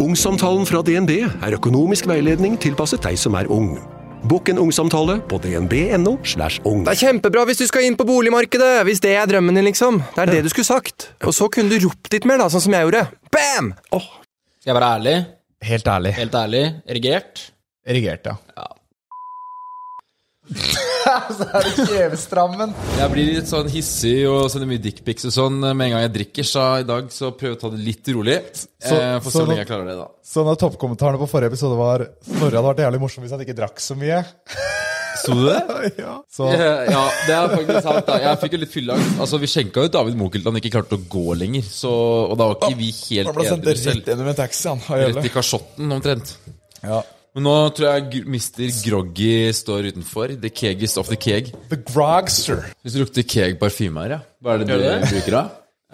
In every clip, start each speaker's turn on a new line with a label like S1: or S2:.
S1: Ungsamtalen fra DNB er økonomisk veiledning tilpasset deg som er ung. Bokk en ungsamtale på dnb.no. slash ung.
S2: Det er kjempebra hvis du skal inn på boligmarkedet! Hvis det er drømmen din, liksom. Det er det du skulle sagt. Og så kunne du ropt litt mer, da, sånn som jeg gjorde. Bam!
S3: Skal jeg være ærlig?
S4: Helt ærlig.
S3: Helt ærlig? Erigert?
S4: Erigert, ja.
S3: Ja.
S4: Så er det kjevestrammen.
S3: Jeg blir litt sånn hissig og sender mye dickpics og sånn med en gang jeg drikker, så i dag så prøver jeg å ta det litt rolig.
S4: Så-
S3: eh, Får se
S4: så
S3: hvor
S4: nå-
S3: lenge jeg klarer det, da.
S4: Så når toppkommentarene på forrige episode var Snorre hadde vært jævlig morsom hvis han ikke drakk så mye.
S3: Så du det?
S4: ja. Så
S3: Ja, det er faktisk sant. da Jeg fikk jo litt fylleangst. Altså, vi skjenka jo David Mokel til han ikke klarte å gå lenger, så, og da var ikke vi
S4: han
S3: helt
S4: ble sendt
S3: edru selv.
S4: rett gjennom en taxi, han. av
S3: Rett
S4: Jelle.
S3: i kasjotten, omtrent.
S4: Ja.
S3: Men nå tror jeg gr- Mr. Groggy står utenfor. The keg is off the keg.
S4: The Grogster.
S3: Hvis du lukter keg parfyme her, ja. Hva er det
S5: Gjør
S3: du
S5: det?
S3: bruker da?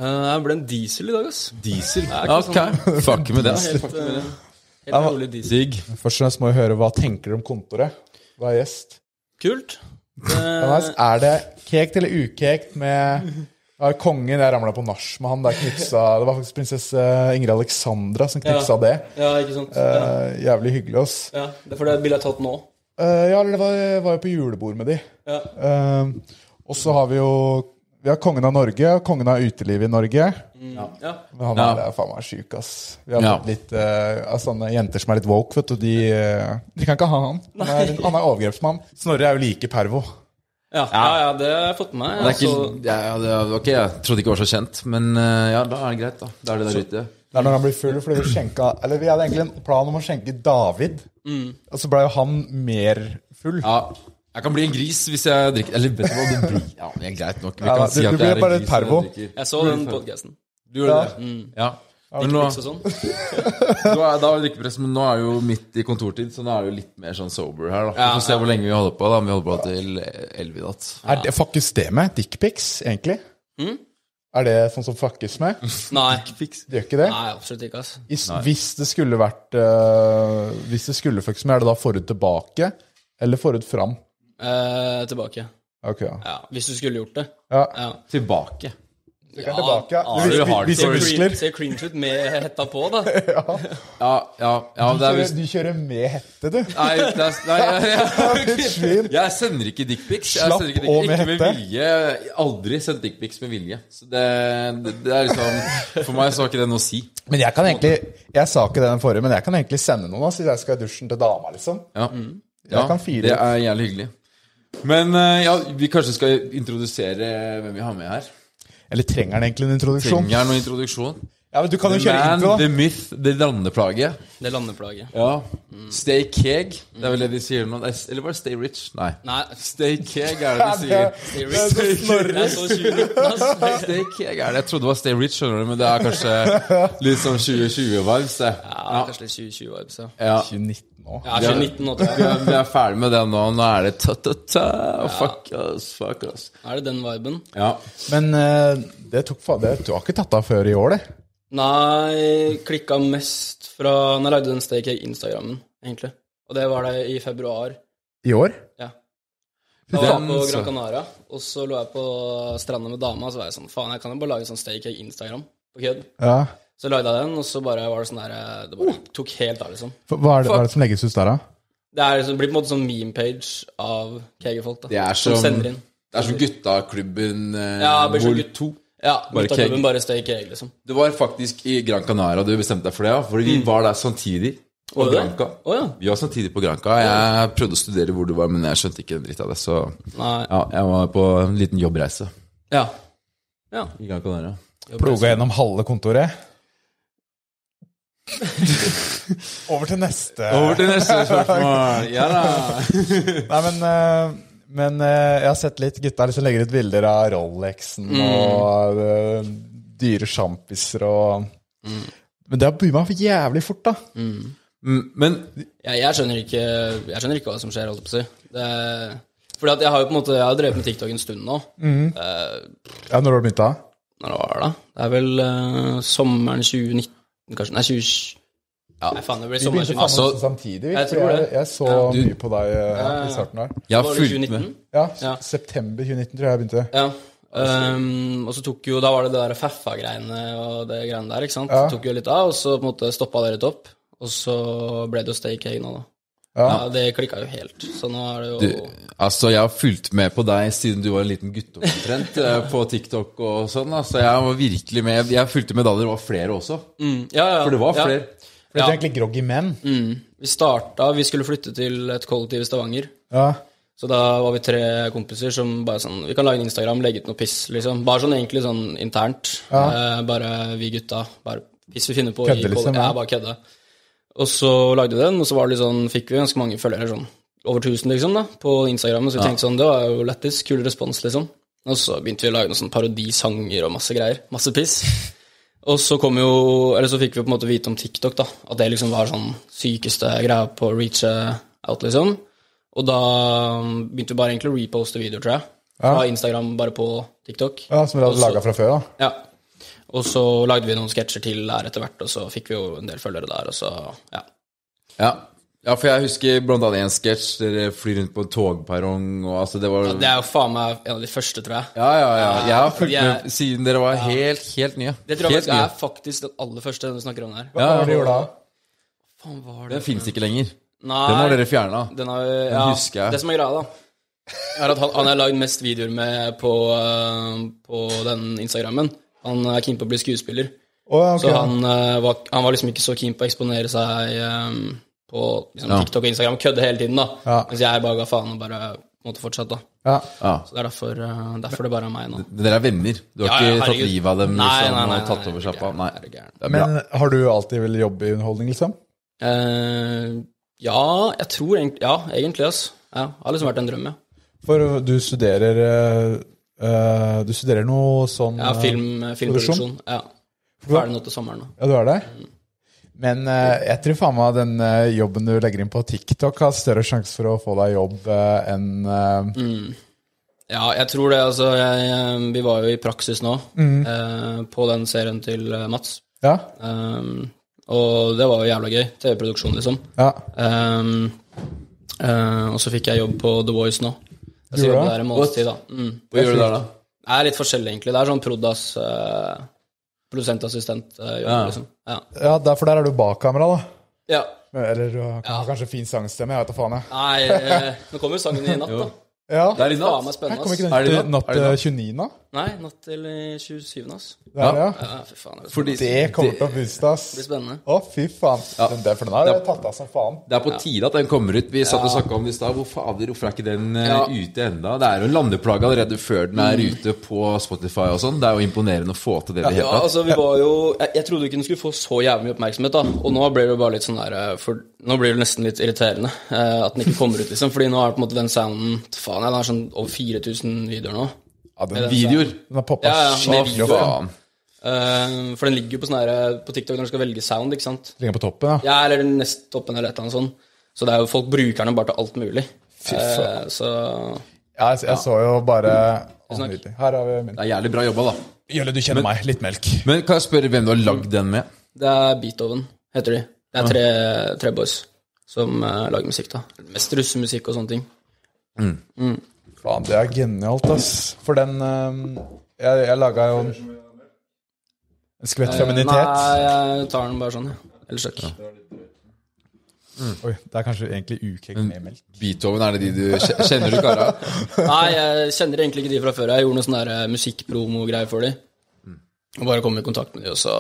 S5: Jeg Eh, ble en diesel i dag, ass.
S3: Diesel? Ok, fuck med sånn. det.
S5: Helt, eh,
S4: Ja,
S5: helt
S4: men-
S5: rolig diesel.
S3: Digg.
S4: Først og fremst må vi høre hva tenker du om kontoret. Hva er gjest?
S5: Kult.
S3: Eh.
S4: Jonas, Er det kekt eller ukekt med ja, kongen? Jeg ramla på nach med han der knipsa Det var faktisk prinsesse Ingrid Alexandra som knipsa det.
S5: Ja, ikke sant. Ja,
S4: Eh, jævlig hyggelig, ass.
S5: ja. Det er for det bildet jeg har tatt nå.
S4: Eh, ja, eller det var, var jo på julebord med de.
S5: Ja.
S4: Eh, og så har vi jo Vi har kongen av Norge og kongen av utelivet i Norge.
S5: Ja.
S4: Men han
S3: Ja.
S4: er er faen meg sjuk, ass. Vi har
S3: Ja.
S4: fått litt eh, av sånne jenter som er litt woke, vet du. De, eh, de kan ikke ha han. Han er, han er overgrepsmann. Snorre er jo like pervo.
S5: Ja, ja, ja, det har jeg fått med meg.
S3: Det er ikke,
S5: altså.
S3: ja, ja, det er, ok, jeg trodde ikke det var så kjent, men eh, ja, da er det greit, da. Da er det der ute.
S4: Det er når han blir full, fordi vi skjenka Eller vi hadde egentlig en plan om å skjenke David, og så ble jo han mer full.
S3: Ja, jeg kan bli en gris hvis jeg drikker Eller vet du hva, det blir Ja, men det er greit nok. Vi
S4: Ja,
S3: kan
S4: da,
S3: si
S4: du-
S3: at
S4: du
S3: jeg
S4: blir
S3: er
S4: bare
S3: en gris
S4: et
S3: når
S4: pervo.
S3: jeg drikker.
S5: Jeg så den podcasten.
S3: Du gjør
S4: Ja.
S3: det? Ja. Men nå,
S5: Så sånn.
S3: nå er, da var det drikkepress, men nå er jo midt i kontortid, så nå er det jo litt mer sånn sober her, da. Vi
S5: Ja.
S3: får se hvor lenge vi holder på, da. Om vi holder på til eh, elleve i natt.
S4: Er det fuckes det med? Dickpics, egentlig? Er det sånn som fuckes med?
S5: Nei.
S4: Det gjør ikke det?
S5: Nei, absolutt ikke, ass.
S4: I, hvis det skulle vært øh, Hvis det skulle fuckes med, er det da forut tilbake? Eller forut fram?
S5: Eh, tilbake.
S4: Ok, ja.
S5: Ja, hvis du skulle gjort det.
S4: ja.
S5: Ja.
S3: Tilbake.
S4: Du kan tilbake, ja.
S3: aner du hard
S4: Vise
S3: stories.
S4: muskler.
S5: Ser cringe ut med hetta på, da.
S3: Ja, ja, ja det er visst
S4: Du kjører med hette, du.
S3: Nei, det er, nei jeg, jeg,
S4: Ditt svin.
S3: Jeg sender ikke dickpics. Jeg
S4: Slapp
S3: sender ikke
S4: av
S3: dick-
S4: med
S3: ikke med
S4: hette.
S3: vilje. Aldri sendt dickpics med vilje. Så det, det, det er liksom For meg så har ikke det noe å si.
S4: Men jeg kan egentlig Jeg sa ikke det den forrige, men jeg kan egentlig sende noen, altså, hvis jeg skal i dusjen til dama, liksom.
S3: Ja,
S4: Jeg
S3: ja
S4: kan fire
S3: Det
S4: ut.
S3: er jævlig hyggelig. Men eh, ja, vi kanskje skal introdusere hvem vi har med her.
S4: Eller trenger den egentlig en introduksjon?
S3: Trenger noen introduksjon?
S4: Ja, men Du kan jo
S3: The
S4: kjøre
S3: man,
S4: intro,
S3: the
S4: da.
S3: myth, the landeplage.
S5: Det landeplaget.
S3: Ja.
S4: Mm.
S3: Stay keg. Det er vel det de sier nå. Eller var det stay rich? Nei.
S5: Nei.
S3: Stay keg er det de sier.
S5: Stay
S4: Det er så
S5: rich. Det
S4: Snorre.
S5: er så 2019, ass.
S3: Stay keg er det. Jeg trodde det var stay rich, skjønner du, men det er kanskje litt sånn 2020-vibes, det.
S5: Ja, kanskje litt 2020-vibes, ja.
S3: Ja.
S4: 2019 nå.
S5: Ja, 2019 nå, tror jeg.
S3: Vi er, vi er ferdig med det nå. Nå er det ta-ta-ta. Fuck us, fuck us.
S5: Er det den viben?
S3: Ja.
S4: Men eh, det tok faen det- Du har ikke tatt av før i år, det?
S5: Nei, klikka mest fra Når jeg lagde den Stay Cake Instagrammen, egentlig. Og det var det i februar.
S4: I år?
S5: Ja. Da var jeg
S3: Den,
S5: på
S3: så.
S5: Gran Canaria, og så lå jeg på stranda med dama, og så var jeg sånn Faen, jeg kan jo bare lage sånn Stay Cake Instagram på kødd.
S4: Ja.
S5: Så lagde jeg den, og så bare var det sånn der eh, Det
S3: Oh!
S5: bare tok helt av, liksom.
S4: Hva hva er, det, hva er det som legges ut der, da?
S5: Det er liksom, blir på en måte sånn meme-page av kegerfolk, da.
S3: Det er
S5: som
S3: som-
S5: sender inn.
S3: Det er som guttaklubben eh,
S5: Ja, bare som gutt-
S3: 2.
S5: Ja,
S3: Bare
S5: bare
S3: keg.
S5: keg. Bare Stay Cake, liksom.
S3: Det var faktisk i Gran Canaria du bestemte deg for det, ja. Fordi vi var der samtidig. På
S5: Mm. Var det det?
S3: Granca.
S5: Å, ja.
S3: Vi var samtidig på Granca. Jeg prøvde å studere hvor du var, men jeg skjønte ikke en dritt av det. Så
S5: Nei.
S3: ja, jeg var på en liten jobbreise
S5: Ja.
S3: i Gran Canaria.
S4: Ploga gjennom halve kontoret. Over til neste.
S3: Over til neste spørsmål. Ja da.
S4: Nei, men, eh, men eh, jeg har sett litt gutta som legger ut bilder av Rolexen
S5: Mm.
S4: og eh, dyre sjampiser og
S5: Mm.
S4: Men det har begynt meg for jævlig fort, da.
S3: Mm, Men
S5: Jeg, jeg, skjønner ikke, jeg skjønner ikke hva som skjer, holdt jeg på å si. Det- Fordi at jeg har jo på en måte, jeg har drevet med TikTok en stund nå.
S4: Ja, Når har du begynt, da?
S5: Når var det da? Det er vel eh, sommeren 2019, kanskje? Nei, 20... Ja, nei, faen, det blir
S4: Vi
S5: sommeren
S4: begynte faen meg
S5: 2019.
S3: Altså,
S4: nesten samtidig. Vi,
S5: jeg
S4: for
S5: tror
S4: jeg,
S5: det.
S4: jeg så mye på deg eh, i starten der.
S3: jeg har
S5: Var det
S3: fulgt
S5: 2019?
S3: med.
S4: Ja,
S5: Ja.
S4: September 2019 tror jeg jeg begynte.
S5: Ja. Ehm, og så tok jo, da var det det der Faffa-greiene og det greiene der, ikke sant?
S4: Ja.
S5: Tok jo litt av, og så på en måte stoppa det litt opp. Og så ble det jo Staycake nå, da. Ja.
S4: Ja.
S5: det klikka jo helt. Så nå er det jo
S3: Du, altså, jeg har fulgt med på deg siden du var en liten guttunge omtrent, eh, på TikTok og sånn. Altså, jeg var virkelig med. Jeg fulgte med da dere var flere også.
S5: Mm, ja, ja,
S3: For det var
S5: ja.
S3: flere.
S4: For det er egentlig groggy menn.
S5: Mm. Vi starta Vi skulle flytte til et kollektiv i Stavanger.
S4: Ja.
S5: Så da var vi tre kompiser som bare sånn Vi kan lage en Instagram, legge ut noe piss, liksom. Bare sånn egentlig sånn internt. Eh, bare vi gutta. Bare piss vi finner på. i
S4: Kødde, liksom,
S5: koll-
S4: ja.
S5: Ja, bare kødde. Og så lagde vi den, og så var det litt sånn, fikk vi ganske mange følgere, sånn over 1000, liksom, da, på Instagram. Så vi tenkte sånn, det var jo lættis. Kul respons, liksom. Og så begynte vi å lage noen sånn parodisanger og masse greier. Masse piss. Og så kom jo Eller så fikk vi på en måte vite om TikTok, da. At det liksom var sånn sykeste greia på å reache out, liksom. Og da um, begynte vi bare egentlig å reposte videoer, tror jeg. Fra Instagram bare på TikTok.
S4: ja, Som dere hadde
S5: Også-
S4: laga fra før, da.
S5: Ja. Og så lagde vi noen sketsjer til der etter hvert, og så fikk vi jo en del følgere der, og så ja.
S3: Ja. ja, for jeg husker blant annet en sketsj. Dere flyr rundt på en togperrong, og altså, det var
S5: Det er jo faen meg en av de første, tror jeg.
S3: Ja, ja, ja. Jeg har fulgt
S5: Jeg-
S3: med siden dere var helt, helt nye.
S5: Det tror jeg
S3: helt
S5: faktisk er faktisk den aller første du snakker om der.
S4: Hva var det du gjorde da?
S5: Faen, var
S3: Den fins ikke lenger.
S5: Nei,
S3: Den har dere fjerna.
S5: Den har, ja,
S3: husker jeg.
S5: Det som er greia, da, er at han, han har lagd mest videoer med på, eh, på den Instagrammen. Han er keen på å bli skuespiller.
S4: Å, ja, ok.
S5: Så han, eh, var, han var liksom ikke så keen på å eksponere seg eh, på liksom,
S3: Ja.
S5: TikTok og Instagram. Kødde hele tiden, da.
S4: Ja.
S5: Mens jeg bare ga faen og bare måtte fortsette, da.
S4: ja.
S3: Ja.
S5: Så det er derfor, eh, derfor det bare er meg nå.
S3: Dere er venner. Du har
S5: Ja, ja,
S3: ikke tatt
S5: herregud.
S3: livet av dem
S5: Nei,
S3: liksom,
S5: nei, nei,
S3: og tatt
S5: nei,
S3: over
S5: herregud,
S3: sjappa? Nei.
S5: herregud.
S3: Det er bra.
S4: Men har du alltid villet jobbe i underholdning, liksom?
S5: Eh, ja, jeg tror egentlig Ja, egentlig, ass. Ja, det har liksom vært en drøm, ja.
S4: For du studerer eh, eh, Du studerer noe sånn
S5: ja film, eh, filmproduksjon. Ja. Ferdig nå til sommeren. nå.
S4: Ja, du er det? Men eh, jeg tror faen meg den eh, jobben du legger inn på TikTok, har større sjanse for å få deg jobb eh, enn eh,
S5: Ja, jeg tror det. Altså, jeg, eh, vi var jo i praksis nå eh, på den serien til eh, Mats.
S4: Ja?
S5: Um, og det var jo jævla gøy. TV-produksjon, liksom.
S4: ja.
S5: Um, eh, og så fikk jeg jobb på The Voice nå. Jeg skal
S4: Gjorde
S5: jobbe
S4: det?
S5: der en måneds tid, da. Mm.
S3: Hva gjør du der, da?
S5: Det er litt forskjellig, egentlig. Det er sånn Prodas eh, produsentassistent-jobb,
S3: Ja.
S5: liksom. Ja.
S4: ja der, for der er du bak kamera, da.
S5: ja.
S4: Eller du har har kanskje fin sangstemme, jeg vet da faen, jeg.
S5: Nei, eh, nå kommer jo sangen i natt, da.
S4: Ja.
S3: Det er litt natt.
S5: Faen meg
S4: Her
S5: spennende,
S4: kom ikke
S5: ass.
S3: Er
S4: den
S3: det natt?
S4: til natt
S3: Er det
S4: eh, 29, da?
S5: Nei, natt til eh, 27. ass.
S4: Det er det, ja.
S5: Ja, fy faen. Det
S3: Fordi
S4: Det kommer til å booste,
S5: blir
S4: ass.
S5: spennende.
S4: Å, fy faen. Den der, for den har
S3: Det
S4: jeg
S3: er-
S4: tatt av som faen.
S3: Det er på tide at den kommer ut. Vi satt og snakka om det i stad. Hvor fader, hvorfor er ikke den eh,
S5: Ja. Mm.
S3: ute enda? Det er jo en landeplage allerede før den er ute på Spotify og sånn. Det er jo imponerende å få til det i det
S5: Ja,
S3: hele tatt.
S5: altså vi var jo jeg, jeg trodde ikke den skulle få så jævlig mye oppmerksomhet, da. Og nå blir det jo bare litt sånn der eh, For nå blir det nesten litt irriterende eh, at den ikke kommer ut, liksom. Fordi nå er det på en måte den sounden Faen, jeg, den er sånn over 4000 videoer nå.
S4: Ja, den,
S3: Videoer.
S4: den har poppa
S5: Ja, ja,
S3: Å,
S5: med
S4: skikkelig
S5: video.
S4: opp. ja.
S3: faen.
S5: Eh, for den ligger jo på sånn her på TikTok når du skal velge sound, ikke sant.
S4: Ligger på toppen, ja.
S5: Ja, eller den nest toppen eller et eller annet sånt. Så det er jo folk bruker den bare til alt mulig. Eh, så
S4: Ja, jeg, jeg så jo bare Å,
S5: Tusen takk.
S4: nydelig. Her har vi min.
S3: Det er jævlig bra jobba, da.
S4: Jølle, du kjenner meg. Litt melk.
S3: Men kan jeg spørre hvem du har lagd den med?
S5: det er Beethoven, heter de. Det er tre, tre boys som eh, lager musikk, da. Mest russemusikk og sånne ting.
S4: Faen, det er genialt, ass. For den ehm, Jeg, jeg laga jo en en skvett
S5: Eh, Nei,
S4: feminitet.
S5: jeg tar den bare sånn, ja. Ellers takk.
S4: Oi, det er kanskje egentlig ukekt
S5: Mm.
S4: med melk.
S3: Beethoven, er det de du kje- Kjenner du kara?
S5: Nei, jeg kjenner egentlig ikke de fra før. Jeg gjorde noe sånn der eh, musikkpromo-greier for de. Og bare kom i kontakt med de, og så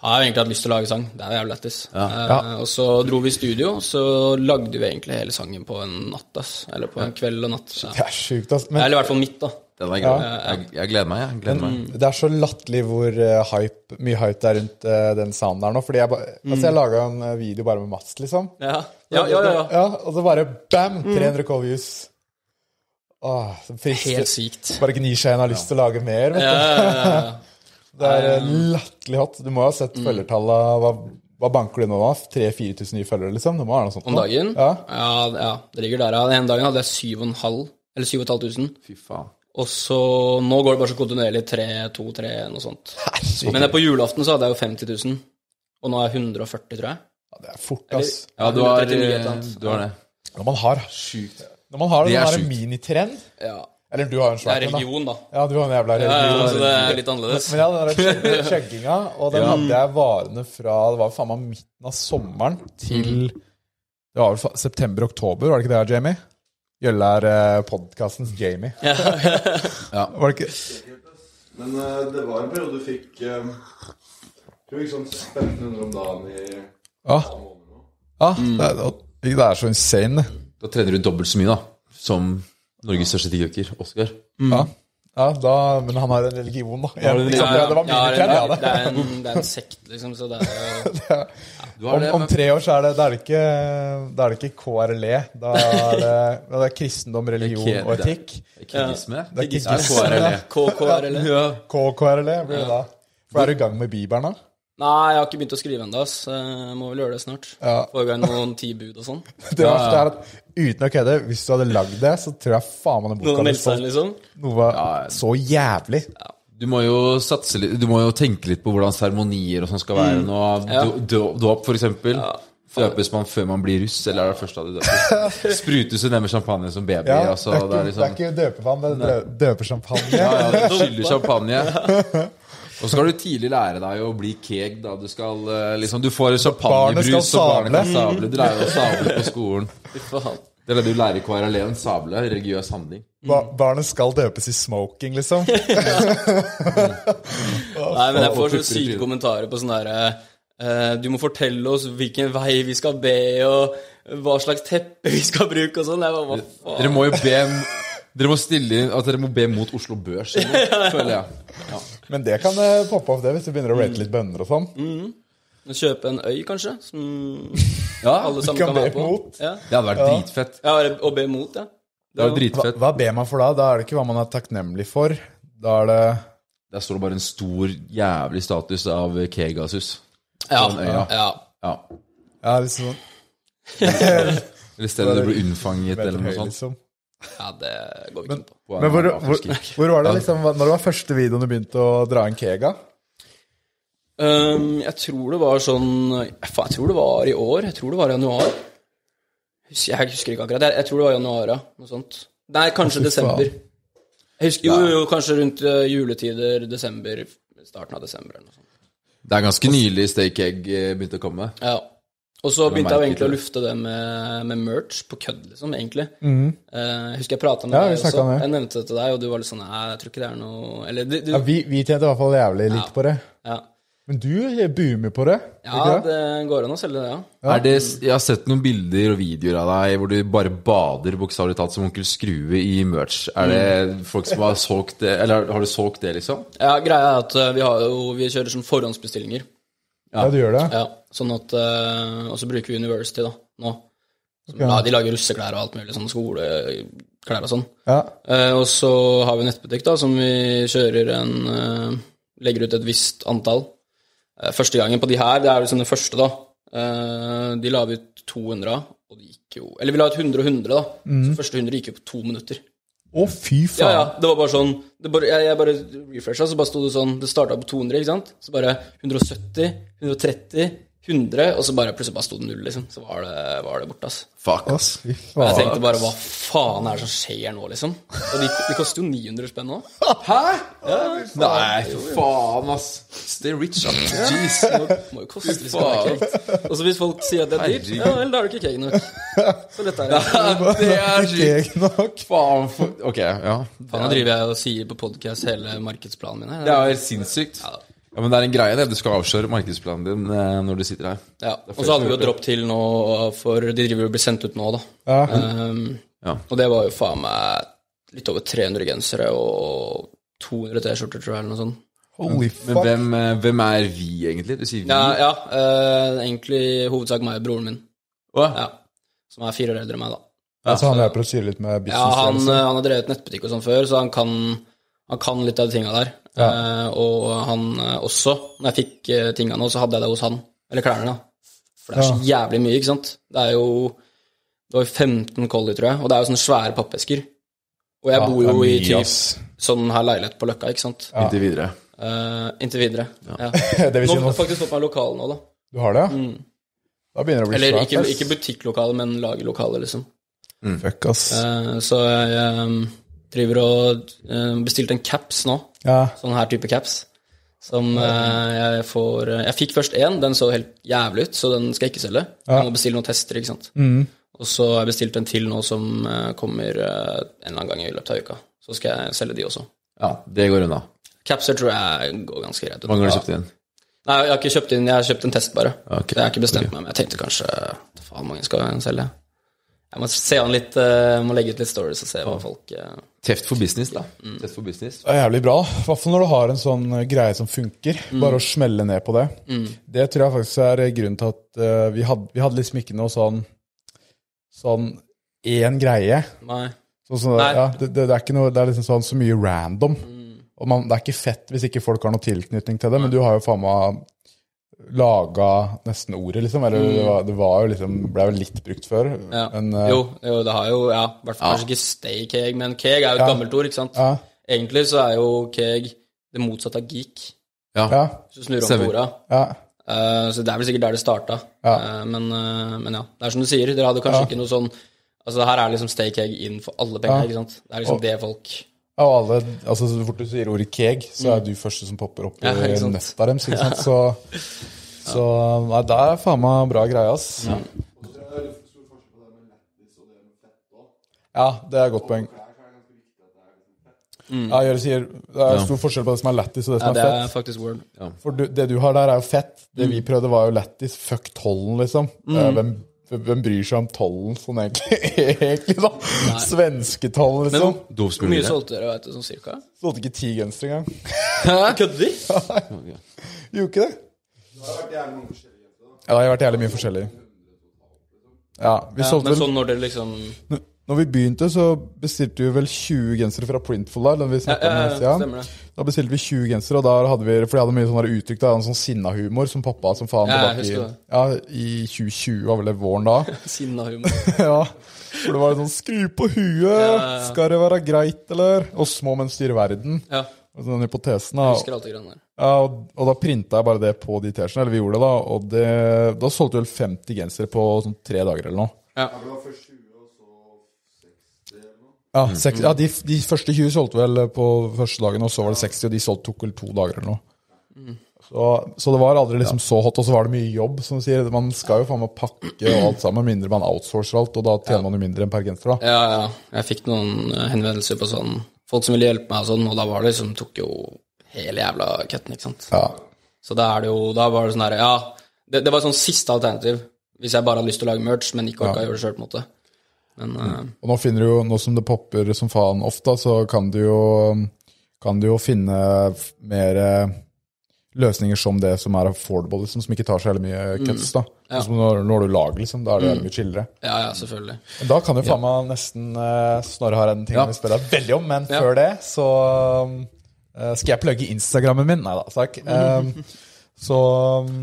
S5: har jeg egentlig hatt lyst til å lage sang. Det er jo jævlig lættis. Eh, Og så dro vi i studio, og så lagde vi egentlig hele sangen på en natt, ass. Eller på en kveld og natt. Ja.
S4: Det er sjukt, ass. Men
S5: Eller i hvert fall mitt, da.
S3: Den er grei. Jeg, jeg gleder meg, jeg. gleder meg.
S4: det er så latterlig hvor eh, hype, mye hype det er rundt eh, den sounden her nå. Fordi jeg, ba,
S5: Mm.
S4: altså, jeg laga en eh, video bare med Mats, liksom.
S5: Ja, ja, ja. ja, ja.
S4: Ja, og så bare bam!
S5: Mm.
S4: 300 k views. Åh, så frister.
S5: Helt sykt.
S4: Bare gnir seg inn og har lyst til å lage mer. Vet du.
S5: Ja, ja, ja, ja. Mm.
S4: Det er eh, latterlig hot. Du må ha sett følgertallet. Hva, hva banker du nå, da? 3000-4000 nye følgere, liksom? Det må være noe sånt.
S5: Om
S4: nå.
S5: dagen?
S4: Ja.
S5: ja, ja, det ligger der. Ja. Den ene dagen hadde jeg 7,5, eller 7500.
S3: Fy faen.
S5: Og så Nå går det bare så kontinuerlig 3, 2, 3, noe sånt. Men på julaften så hadde jeg jo 50 000. Og nå er jeg 140, tror jeg.
S4: Ja, det er fort, ass.
S3: Ja, du har,
S5: 139 et
S3: eh,
S5: eller annet.
S3: du har det.
S4: Når man har,
S3: Sjukt.
S4: når man har
S3: Det
S4: den
S3: er
S4: der
S3: sjukt.
S4: minitrend
S5: Ja.
S4: Eller du har en
S5: Det er
S4: svær en, da.
S5: religion, da.
S4: Ja, du har en jævla
S5: Ja,
S4: religion.
S5: ja, så det er litt annerledes.
S4: Men ja, den der chugginga, og den hadde jeg varende fra Det var faen meg midten av sommeren
S5: Mm.
S4: til Det var vel september-oktober, var det ikke det, Jamie? Gjølle er eh, podkastens Jamie. Var det ikke
S6: Men eh, det var en periode du fikk eh, Du fikk sånn 1500 om dagen i
S4: Ja. ja det, er- det er så insane, det.
S3: Da trener du dobbelt så mye da som Norges største tiggerjoker, Oskar.
S4: Ja. Ja, da, men han har en religion, da. Ja,
S3: du det?
S4: liksom, ja, det var
S5: Ja,
S4: mye trend, ja,
S5: det,
S4: det.
S5: er en, det er en sekt, liksom, så det er jo
S3: Du har
S4: Om,
S3: det,
S4: om tre år så er det, da er det ikke, da er det ikke KRLE. E. Da er det, da er det kristendom, religion
S3: Det er
S4: og
S3: ikke- det er-
S4: etikk.
S3: men Kirgisme?
S4: Det er ikke
S3: Det er KRLE.
S5: KKRL.
S4: KKRLE E blir det da. For er du i gang med Bibelen, da?
S5: Nei, jeg har ikke begynt å skrive ennå, ass. Jeg må vel gjøre det snart.
S4: Ja.
S5: Få i gang noen ti bud og sånn.
S4: Det verste er at uten å kødde, hvis du hadde lagd det, så tror jeg faen meg den
S5: Noen
S4: boka
S5: har
S4: hadde
S5: meldt seg inn,
S4: solgt
S5: liksom.
S4: noe så jævlig.
S3: Du må jo satse litt Du må jo tenke litt på hvordan seremonier og sånn skal
S4: Mm.
S3: være nå.
S5: Ja.
S3: Då- då- Dåp, for eksempel. Døpes man før man blir russ, eller er det først da du døpes? Sprutes du ned med champagne som baby?
S4: Ja,
S3: altså, det er
S4: det, er ikke, det er
S3: liksom
S4: ikke døpevann, det er dø- døpersjampanje.
S3: ja, ja, du skyller champagne. Og så skal du tidlig lære deg å bli keg, da. Du skal eh, liksom Du får
S4: Barnet
S3: champagnebrus,
S4: skal
S3: og barnet kan
S4: sable.
S3: sable. Du lærer å sable på skolen.
S5: Fy faen.
S3: Det er det du lærer i KRLE, E en sable. Religiøs handling.
S4: Ba barnet skal døpes i smoking, liksom.
S5: Nei, men jeg
S3: og
S5: får så
S3: putter i
S5: syke
S3: trynet.
S5: kommentarer på sånn derre eh, Du må fortelle oss hvilken vei vi skal be, og hva slags teppe vi skal bruke, og sånn. Jeg bare, hva faen?
S3: Dere må jo be Dere må stille inn at dere må be mot Oslo Børs, eller noe, føler jeg. Ja.
S4: Men det kan eh, poppe opp, det, hvis du begynner å rate litt bønner og sånn.
S5: Kjøpe en øy, kanskje, som
S3: Ja,
S5: alle sammen
S4: kan
S5: kan,
S4: be
S5: være på.
S4: mot.
S5: Ja.
S3: Det hadde vært dritfett.
S5: ja, og be mot, ja.
S3: Det er jo
S4: Hva,
S3: dritfett.
S4: hva ber man for da? Da er det ikke hva man er takknemlig for. Da er det
S3: Der står det bare en stor, jævlig status av Kegasus.
S5: Ja,
S3: Sånn
S5: ja.
S3: øya. Ja.
S4: ja, liksom sånn
S3: Eller stedet du ble unnfanget, eller
S4: meter
S3: noe
S4: høy,
S3: sånt.
S4: liksom.
S5: ja det går vi ikke på.
S3: På en
S4: Men hvor,
S3: eller annen
S4: hvor,
S3: afterski.
S4: hvor var det liksom Når det var første videoen du begynte å dra en kega?
S5: Ehm, jeg tror det var sånn faen, Jeg tror det var i år. Jeg tror det var i januar. Husker- Jeg husker ikke akkurat. Jeg, jeg tror det var i januar, ja. Noe sånt. Nei, kanskje desember. Jeg husker, jo, jo, kanskje rundt eh, juletider, desember, starten av desember eller noe sånt.
S3: Det er ganske nylig Stake Egg eh, begynte å komme.
S5: Ja. Og så begynte jeg jo
S3: merker
S5: egentlig å
S3: det.
S5: lufte det med, med merch, på kødd, liksom, egentlig. Eh, jeg husker jeg prata med
S4: Mm. Ja, vi
S5: deg
S4: snakket
S5: også.
S4: om det.
S5: Jeg nevnte det til deg, og du var litt sånn Nei, jeg tror ikke det er noe Eller du, du
S4: Ja, vi, vi tjente i hvert fall jævlig litt på det.
S5: Ja,
S4: Men du eh, boomer på det.
S5: ja
S4: ikke det?
S5: det går an å selge det, ja.
S3: Er det, jeg har sett noen bilder og videoer av deg hvor du bare bader bokstavelig talt som onkel Skrue i merch. Er det
S4: Mm.
S3: folk som har solgt det, eller har du solgt det, liksom?
S5: Ja, greia er at eh, vi, har jo, vi kjører sånn forhåndsbestillinger.
S4: Ja, du gjør det.
S5: Ja, sånn at eh, Og så bruker vi University da, nå. Som, ja, de lager russeklær og alt mulig, sånn skoleklær og sånn.
S4: Ja.
S5: Eh, og så har vi en nettbutikk da, som vi kjører en eh, Legger ut et visst antall. Eh, første gangen på de her, det er liksom den første, da. eh, de la vi ut 200 av, og det gikk jo Eller vi la ut 100 og 100, da. Så første 100 gikk jo på to minutter.
S4: Å, fy
S5: Ja,
S4: faen.
S5: ja, det var bare sånn det bare, jeg, jeg bare refresha, så bare sto det sånn Det starta på 200, ikke sant? Så bare 170, 130, 100, og så bare plutselig bare sto det null, liksom. Så var det, var det borte, ass.
S3: Fuck,
S4: Å,
S3: ass.
S4: fy
S5: Jeg
S4: faen.
S5: tenkte bare hva faen er det som skjer nå, liksom? Og de, de koster jo 900 spenn nå.
S3: Nei, for faen, ass. Stay rich, ass. Jeez.
S5: Det må- må jo koste litt
S3: Faen.
S5: cake. Og så hvis folk sier at det er dyrt,
S3: Herregud.
S5: ja vel, da er det ikke cake nok. Så lett er det.
S3: Det er sykt.
S4: Keg nok.
S3: Faen for Ok, ja.
S5: Faen, nå driver jeg og sier på podcast hele markedsplanen min her.
S3: Det er jo helt sinnssykt. Ja, Men det er en greie, det. Du skal avsløre markedsplanen din eh, når du sitter her.
S5: Ja, og så hadde vi jo dropp til nå, for de driver jo og blir sendt ut nå, da.
S4: Ja.
S5: Ehm,
S3: Ja.
S5: Og det var jo faen meg litt over 300 gensere og 200 T-skjorter, tror jeg, eller noe sånt.
S4: Holy
S3: Men
S4: fuck.
S3: hvem, eh, hvem er vi, egentlig? Du sier vi.
S5: Ja,
S4: Mhm.
S5: ja eh, egentlig i hovedsak meg og broren min,
S3: Åh,
S5: ja. som er fire år eldre enn meg, da.
S4: Altså, han hjelper å styre litt med
S5: Ja,
S4: business.
S5: han,
S4: liksom.
S5: eh, han har drevet nettbutikk og sånn før, så han kan, han kan litt av de tinga der. Eh, og han eh, også. Når jeg fikk uh, tinga nå, så hadde jeg det hos han. Eller klærne, da. For det er så jævlig mye, ikke sant? Det er jo Det var jo 15 collie, tror jeg, og det er jo sånne svære pappesker. Og jeg bor jo i
S4: det er mye,
S5: typ
S4: ass.
S5: sånn her leilighet på Løkka, ikke sant?
S3: Inntil videre.
S5: Eh, inntil videre. Ja.
S4: Det vil
S5: Nå
S4: si
S5: har jeg
S4: nå-
S5: faktisk fått meg lokal nå, da.
S4: Du har det, ja? Da begynner det å bli
S5: Mm. Eller
S4: svært,
S5: ikke,
S4: ass.
S5: ikke butikklokale, men lagerlokale, liksom.
S4: Fuck, ass.
S5: Eh, så jeg, eh, driver og eh, bestilte en caps nå.
S4: Ja.
S5: Sånn her type caps. Som eh, jeg får Jeg fikk først én, den så helt jævlig ut, så den skal jeg ikke selge. Jeg må bestille noen tester, ikke sant. Og så har jeg bestilt en til nå som eh, kommer eh, en eller annen gang i løpet av uka. Så skal jeg selge de også.
S3: Ja, det går unna.
S5: Capser tror jeg går ganske greit. ut.
S3: Hvor mange har du kjøpt inn?
S5: Nei, jeg har ikke kjøpt inn, jeg har kjøpt en test bare.
S4: Ah,
S3: Ok.
S5: Så jeg har ikke bestemt meg, men jeg tenkte kanskje Faen, hvor mange skal jeg selge? Jeg må se an litt, eh, jeg må legge ut litt stories og se hva folk eh,
S3: Teft for business, da.
S5: Mm.
S3: Teft for business.
S4: Det er jævlig bra. I hvert fall når du har en sånn eh, greie som funker.
S5: Mm.
S4: Bare å smelle ned på det. Det tror jeg faktisk er eh, grunnen til at eh, vi, hadde, vi hadde liksom ikke noe sånn Sånn én greie.
S5: Nei.
S4: Sånn som-
S5: Nei.
S4: ja, det, det, det, er ikke noe, det er liksom sånn så mye random. Og man, det er ikke fett hvis ikke folk har noe tilknytning til det, men du har jo faen meg laga nesten ordet, liksom. Eller det, var, det var jo liksom Ble jo litt brukt før.
S5: Mm. Ja.
S4: Men, eh,
S5: jo, jo, det har jo Ja, i hvert fall kanskje ikke stay keg, men keg er jo et gammelt ord, ikke sant?
S4: Ja.
S5: Egentlig så er jo keg det motsatte av geek,
S3: Ja.
S4: Ja,
S5: hvis du snur om
S3: Stemmer.
S5: på orda.
S4: ja.
S5: Eh, så det er vel sikkert der det starta. Eh, men, eh, men ja, det er som du sier, dere hadde kanskje ikke noe sånn Altså her er liksom stay keg inn for alle penger, ikke sant? Det er liksom det folk
S4: Ja, Og alle, altså Så fort du sier ordet keg, så er du første som popper opp
S5: Mm. Ja,
S4: i
S5: ikke sant?
S4: nøtta deres. Ikke sant? Så, så nei, det er faen meg bra greie, ass. Ja. det er et godt poeng. Ja, Jørgen sier Det er stor forskjell på det som er lættis og det
S5: Mm. Ja,
S4: som
S5: det
S4: er
S5: er Mm.
S4: fett.
S5: faktisk word.
S4: For du, det du har der, er jo fett. Det vi prøvde, var jo lættis. Fuck tollen, liksom. Eh,
S5: Mm.
S4: Hvem, hvem bryr seg om tollen sånn egentlig? egentlig da? Svensketollen,
S5: Men
S4: liksom.
S5: hvor mye solgte dere, vet du, sånn cirka?
S4: Solgte ikke ti gensere engang.
S5: Kødder?
S4: Gjorde ikke det? Ja, det har vært jævlig mye forskjellig. Ja, vi
S5: Ja,
S4: solgte
S5: men
S4: vel
S5: sånn når dere liksom
S4: Når vi begynte, så bestilte vi vel 20 gensere fra Printful. der, når vi snakket om det
S5: ja,
S4: siden.
S5: Stemmer det.
S4: Da bestilte vi 20 gensere, og da hadde vi, for de hadde mye sånn der uttrykk, da, en sånn sinnahumor som pappa som faen
S5: Ja,
S4: tilbake
S5: jeg
S4: i,
S5: husker det.
S4: ja, i 2020, var vel det våren da.
S5: Sinna humor.
S4: ja, For det var sånn 'skru på huet',
S5: ja, ja.
S4: 'skal det være greit', eller? Og 'små, men styre verden'.
S5: Ja,
S4: Og sånn hypotesen da.
S5: husker alt det greiene der.
S4: Ja, og, og da printa jeg bare det på de T-skjortene, eller vi gjorde det, da. Og det, da solgte vi vel 50 gensere på sånn tre dager eller noe. Ja, seks, ja de, de første 20 solgte vel på første dagen, og så var det 60, og de solgte tok vel to dager eller noe. Så, så det var aldri liksom så hot, og så var det mye jobb, som du sier. Man skal jo faen meg pakke og alt sammen, mindre man outsourcer alt, og da tjener man jo mindre enn per genser, da.
S5: Ja, ja. Jeg fikk noen eh, henvendelser på sånn Folk som ville hjelpe meg og sånn, og da var det liksom Tok jo hele jævla køtten, ikke sant.
S4: Ja.
S5: Så da er det jo Da var det sånn herre Ja, det, det var sånn siste alternativ. Hvis jeg bare hadde lyst til å lage merch, men ikke orka å gjøre det sjøl, på en måte. Men eh,
S4: Og nå finner du jo, nå som det popper som faen ofte, så kan du jo, kan du jo finne f- mer eh, løsninger som det som er affordable, liksom, som ikke tar så jævlig mye cuts. da. Sånn som når, når du lager, liksom, da er det jævlig mye chillere.
S5: ja, ja, selvfølgelig.
S4: Men Da kan jo faen meg nesten eh, Snorre har en ting
S3: Ja.
S4: vi spør deg veldig om, men før det så eh, skal jeg plugge Instagrammen min. Nei da, takk. Um, så um,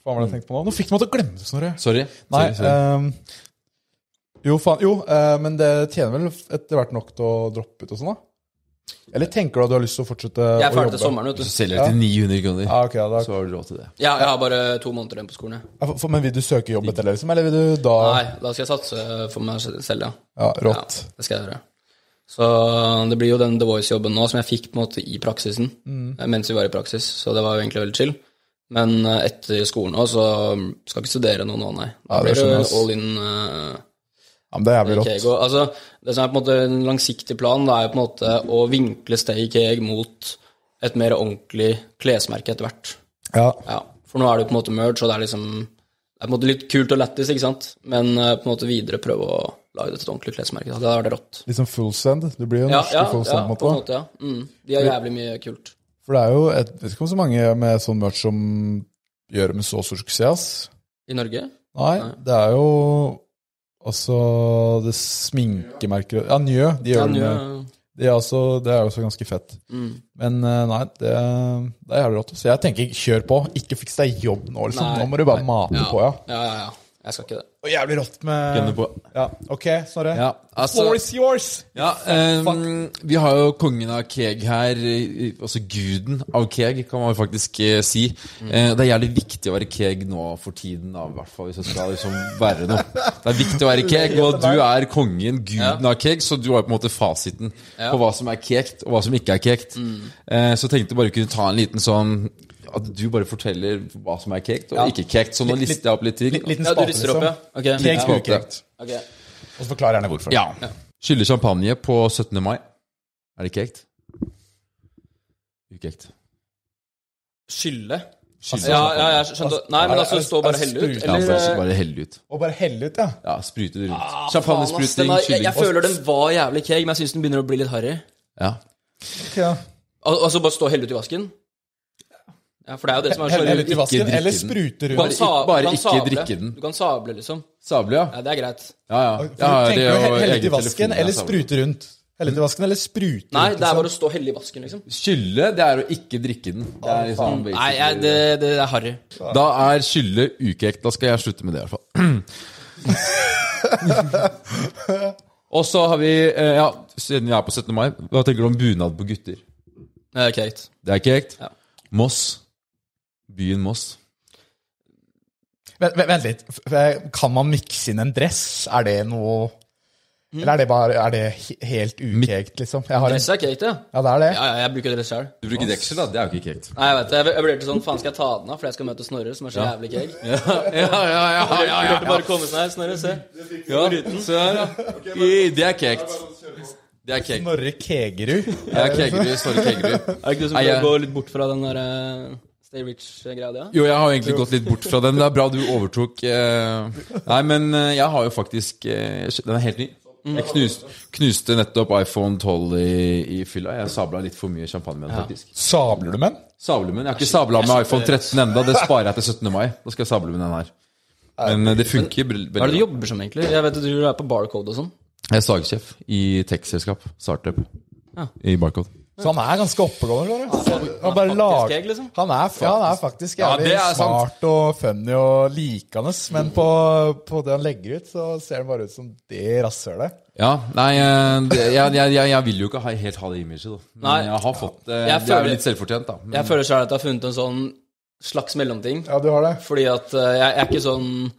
S4: Faen, hva var det jeg tenkte på nå? Nå fikk du meg til å glemme det, Snorre.
S3: Sorry.
S4: Nei,
S3: Sorry, sorry.
S4: ehm, jo, faen, jo eh, men det tjener vel etter hvert nok til å droppe ut og sånn, da? Eller tenker du at du har lyst til å fortsette
S5: Jeg er
S4: å
S5: ferdig
S4: jobbe?
S5: til sommeren, vet
S3: Så
S5: du.
S3: selger jeg til 900 kroner.
S4: Ja, ok, ja, da,
S3: Så har du råd til det.
S5: Ja, jeg har bare to måneder igjen på skolen, jeg.
S4: Ja, for- for, men vil du søke jobb etter det, liksom? Eller vil du da
S5: Nei, da skal jeg satse for meg selv, ja.
S4: Ja,
S5: Ja,
S4: rått.
S5: det skal jeg gjøre. Så det blir jo den The Voice-jobben nå som jeg fikk på en måte i praksisen,
S4: Mm.
S5: eh, mens vi var i praksis, så det var jo egentlig veldig chill. Men eh, etter skolen nå, så mm, skal jeg ikke studere noe nå, nei.
S4: Ja,
S5: Da
S4: det
S5: blir
S4: skjønner jeg,
S5: det
S4: ass.
S5: all in eh,
S4: Ja, men det er jævlig
S5: Stay
S4: rått.
S5: Keg. Og, altså, det som er på en måte en langsiktig plan, da, er jo på en måte å vinkle Stay Keg mot et mer ordentlig klesmerke etter hvert.
S4: Ja,
S5: Ja, for nå er det jo på en måte merge, og det er liksom det er på en måte litt kult og lættis, ikke sant? Men eh, på en måte videre prøve å lage det til et ordentlig klesmerke. da. Det hadde vært rått.
S4: liksom full send. Du blir jo
S5: Ja,
S4: norsk
S5: ja,
S4: i full
S5: ja,
S4: send,
S5: på en
S4: måte.
S5: måte, ja. Mm. De har jævlig mye kult.
S4: For det er jo et, jeg vet ikke om så mange med sånn merch som gjør det med så stor suksess. ass.
S5: I Norge?
S4: Nei, det er jo Altså, det sminkemerker Ja, Njø. De gjør det
S5: Ja, nå,
S4: med Det er, også, det er også ganske fett.
S5: Mm.
S4: Men eh, nei, det, det er jævlig rått. Så jeg tenker, kjør på. Ikke fiks deg jobb nå, liksom.
S5: Nei.
S4: Nå må du bare mate på, ja.
S5: ja, ja, ja. Jeg skal ikke det.
S4: Og jævlig rått med
S3: Gønne på.
S4: Ja, ok, Snorre.
S3: Ja, altså-
S4: Floor is yours!
S3: Ja, ehm, vi har jo kongen av Keg her, eh, altså guden av Keg, kan man faktisk eh, si.
S4: Mm.
S3: Eh, det er jævlig viktig å være Keg nå for tiden, da, i hvert fall hvis jeg skal liksom være noe. Det er viktig å være Keg, og du er kongen, guden av Keg, så du har jo på en måte fasiten
S5: Ja.
S3: på hva som er kekt, og hva som ikke er kekt.
S4: Mm.
S3: Eh, så tenkte jeg bare kunne ta en liten sånn At du bare forteller hva som er kekt og ikke kekt. Så nå
S4: Litt-
S3: lister jeg opp litt ting.
S4: Litt- Liten
S5: Ja, du
S4: spalte,
S5: rister opp, ja? Ok.
S4: Keg,
S3: liksom. spalte.
S4: ukekt.
S5: Ok.
S4: Og så forklar gjerne hvorfor.
S3: Ja. Skyller champagne på 17. mai. Er det kekt? Ukekt.
S5: Skylle?
S3: Skyller
S5: Ja,
S3: champagne.
S5: ja, jeg skjønte Nei, men altså, stå og bare helle ut.
S3: Ja,
S5: Eller
S3: altså,
S5: eh,
S3: bare, bare helle ut.
S4: Og bare helle ut, ja.
S3: Ja, sprute det rundt.
S5: Ah, faen, ass, den
S3: Champagnespruting,
S5: var- jeg,
S3: kylling.
S5: jeg føler den var jævlig keeg, men jeg syns den begynner å bli litt harry.
S3: Ja.
S4: Ok, ja.
S5: Al altså, bare stå og helle ut i vasken? Ja, for det er jo det som er så
S4: Helle helle ut i vasken,
S3: drikke
S4: eller
S3: den.
S4: sprute
S5: Du kan
S4: rundt.
S3: Bare ikke- bare
S5: du kan
S3: ikke drikke den.
S5: Du kan sable, liksom.
S3: Sable, ja.
S5: Ja, det er greit.
S3: Ja, ja.
S4: For
S3: ja
S4: tenker du
S3: jo
S4: helle- Helle ut i
S3: egen
S4: vasken,
S3: telefon, ja,
S4: eller
S3: sable.
S4: sprute rundt.
S3: Mm.
S4: Helle ut i vasken, eller sprute rundt.
S5: Nei, det er
S4: liksom.
S5: bare å stå og helle i vasken, liksom.
S3: Skylle, det er å ikke drikke den. Det er liksom
S5: Nei, jeg, det, det er harry.
S3: Da er skylle ukekt. Da skal jeg slutte med det, i hvert fall. Og så har vi eh, Ja, siden vi er på 17. mai, hva tenker du om bunad på gutter?
S5: Det er kekt.
S3: Det er kekt.
S5: Ja.
S3: Moss. Byen Moss.
S4: Vent, vent- vent litt. F- f- Kan man mikse inn en dress? Er det noe Eller er det bare er det he- helt ukekt, liksom? Jeg har en,
S5: Dress er kekt, ja.
S4: ja, det er det.
S5: Ja, ja, jeg bruker dress sjøl.
S3: Du bruker deksel, da. Det er jo ikke kekt.
S5: Nei, jeg vet det. Jeg, jeg vurderte sånn, faen skal jeg ta den av, for jeg skal møte Snorre, som er så jævlig keeg. Jeg
S3: Ja, ja, ja, ja, ja, ja.
S5: Vurderte bare å komme sånn her, Snorre, se.
S3: ja. Se her, ja. I- Det er kekt. Det er kekt.
S4: Snorre Kegerud.
S3: Jeg er kegerud. Sorry, kegerud.
S5: Er det ikke du som
S3: Nei, jeg-
S5: prøver å gå litt bort fra den der eh, Stay Rich-greia di? Ja?
S3: Jo, jeg har egentlig gått litt bort fra den. Det er bra du overtok. eh. Nei, men eh, jeg har jo faktisk eh, Den er helt ny. Jeg knust, knuste nettopp iPhone 12 i, i fylla. Jeg sabla litt for mye champagne med den, faktisk.
S4: Sabler du med den?
S3: Sabler med den. Jeg har ikke sabla med iPhone 13 enda Det sparer jeg til 17. mai. Da skal jeg sable med den her. Men eh, det funker vel-
S5: Hva er
S3: veldig
S5: det du
S3: bra.
S5: jobber som, egentlig? Jeg vet at du er på barcode og sånn.
S3: Jeg er sagsjef i tech-selskap. Startup.
S5: Ja.
S3: I Barcode.
S4: Så han er ganske oppegående. Snorre. Han, bare
S5: Faktisk
S4: lager,
S5: keeg, liksom.
S4: han, er, ja, han er faktisk
S3: Ja,
S4: jævlig
S3: det er sant.
S4: smart og funny og likende, men på, på det han legger ut, så ser han bare ut som det rasshølet.
S3: Ja, nei, eh, det, jeg, jeg, jeg, jeg vil jo ikke ha, helt ha det imaget, da. Men
S5: Nei.
S3: jeg har fått eh, det.
S5: Jeg
S3: det er
S5: føler-
S3: jo litt selvfortjent, da. Men,
S5: Jeg føler sjøl at jeg har funnet en sånn slags mellomting.
S4: Ja, du har det.
S5: Fordi at eh, jeg, jeg er ikke sånn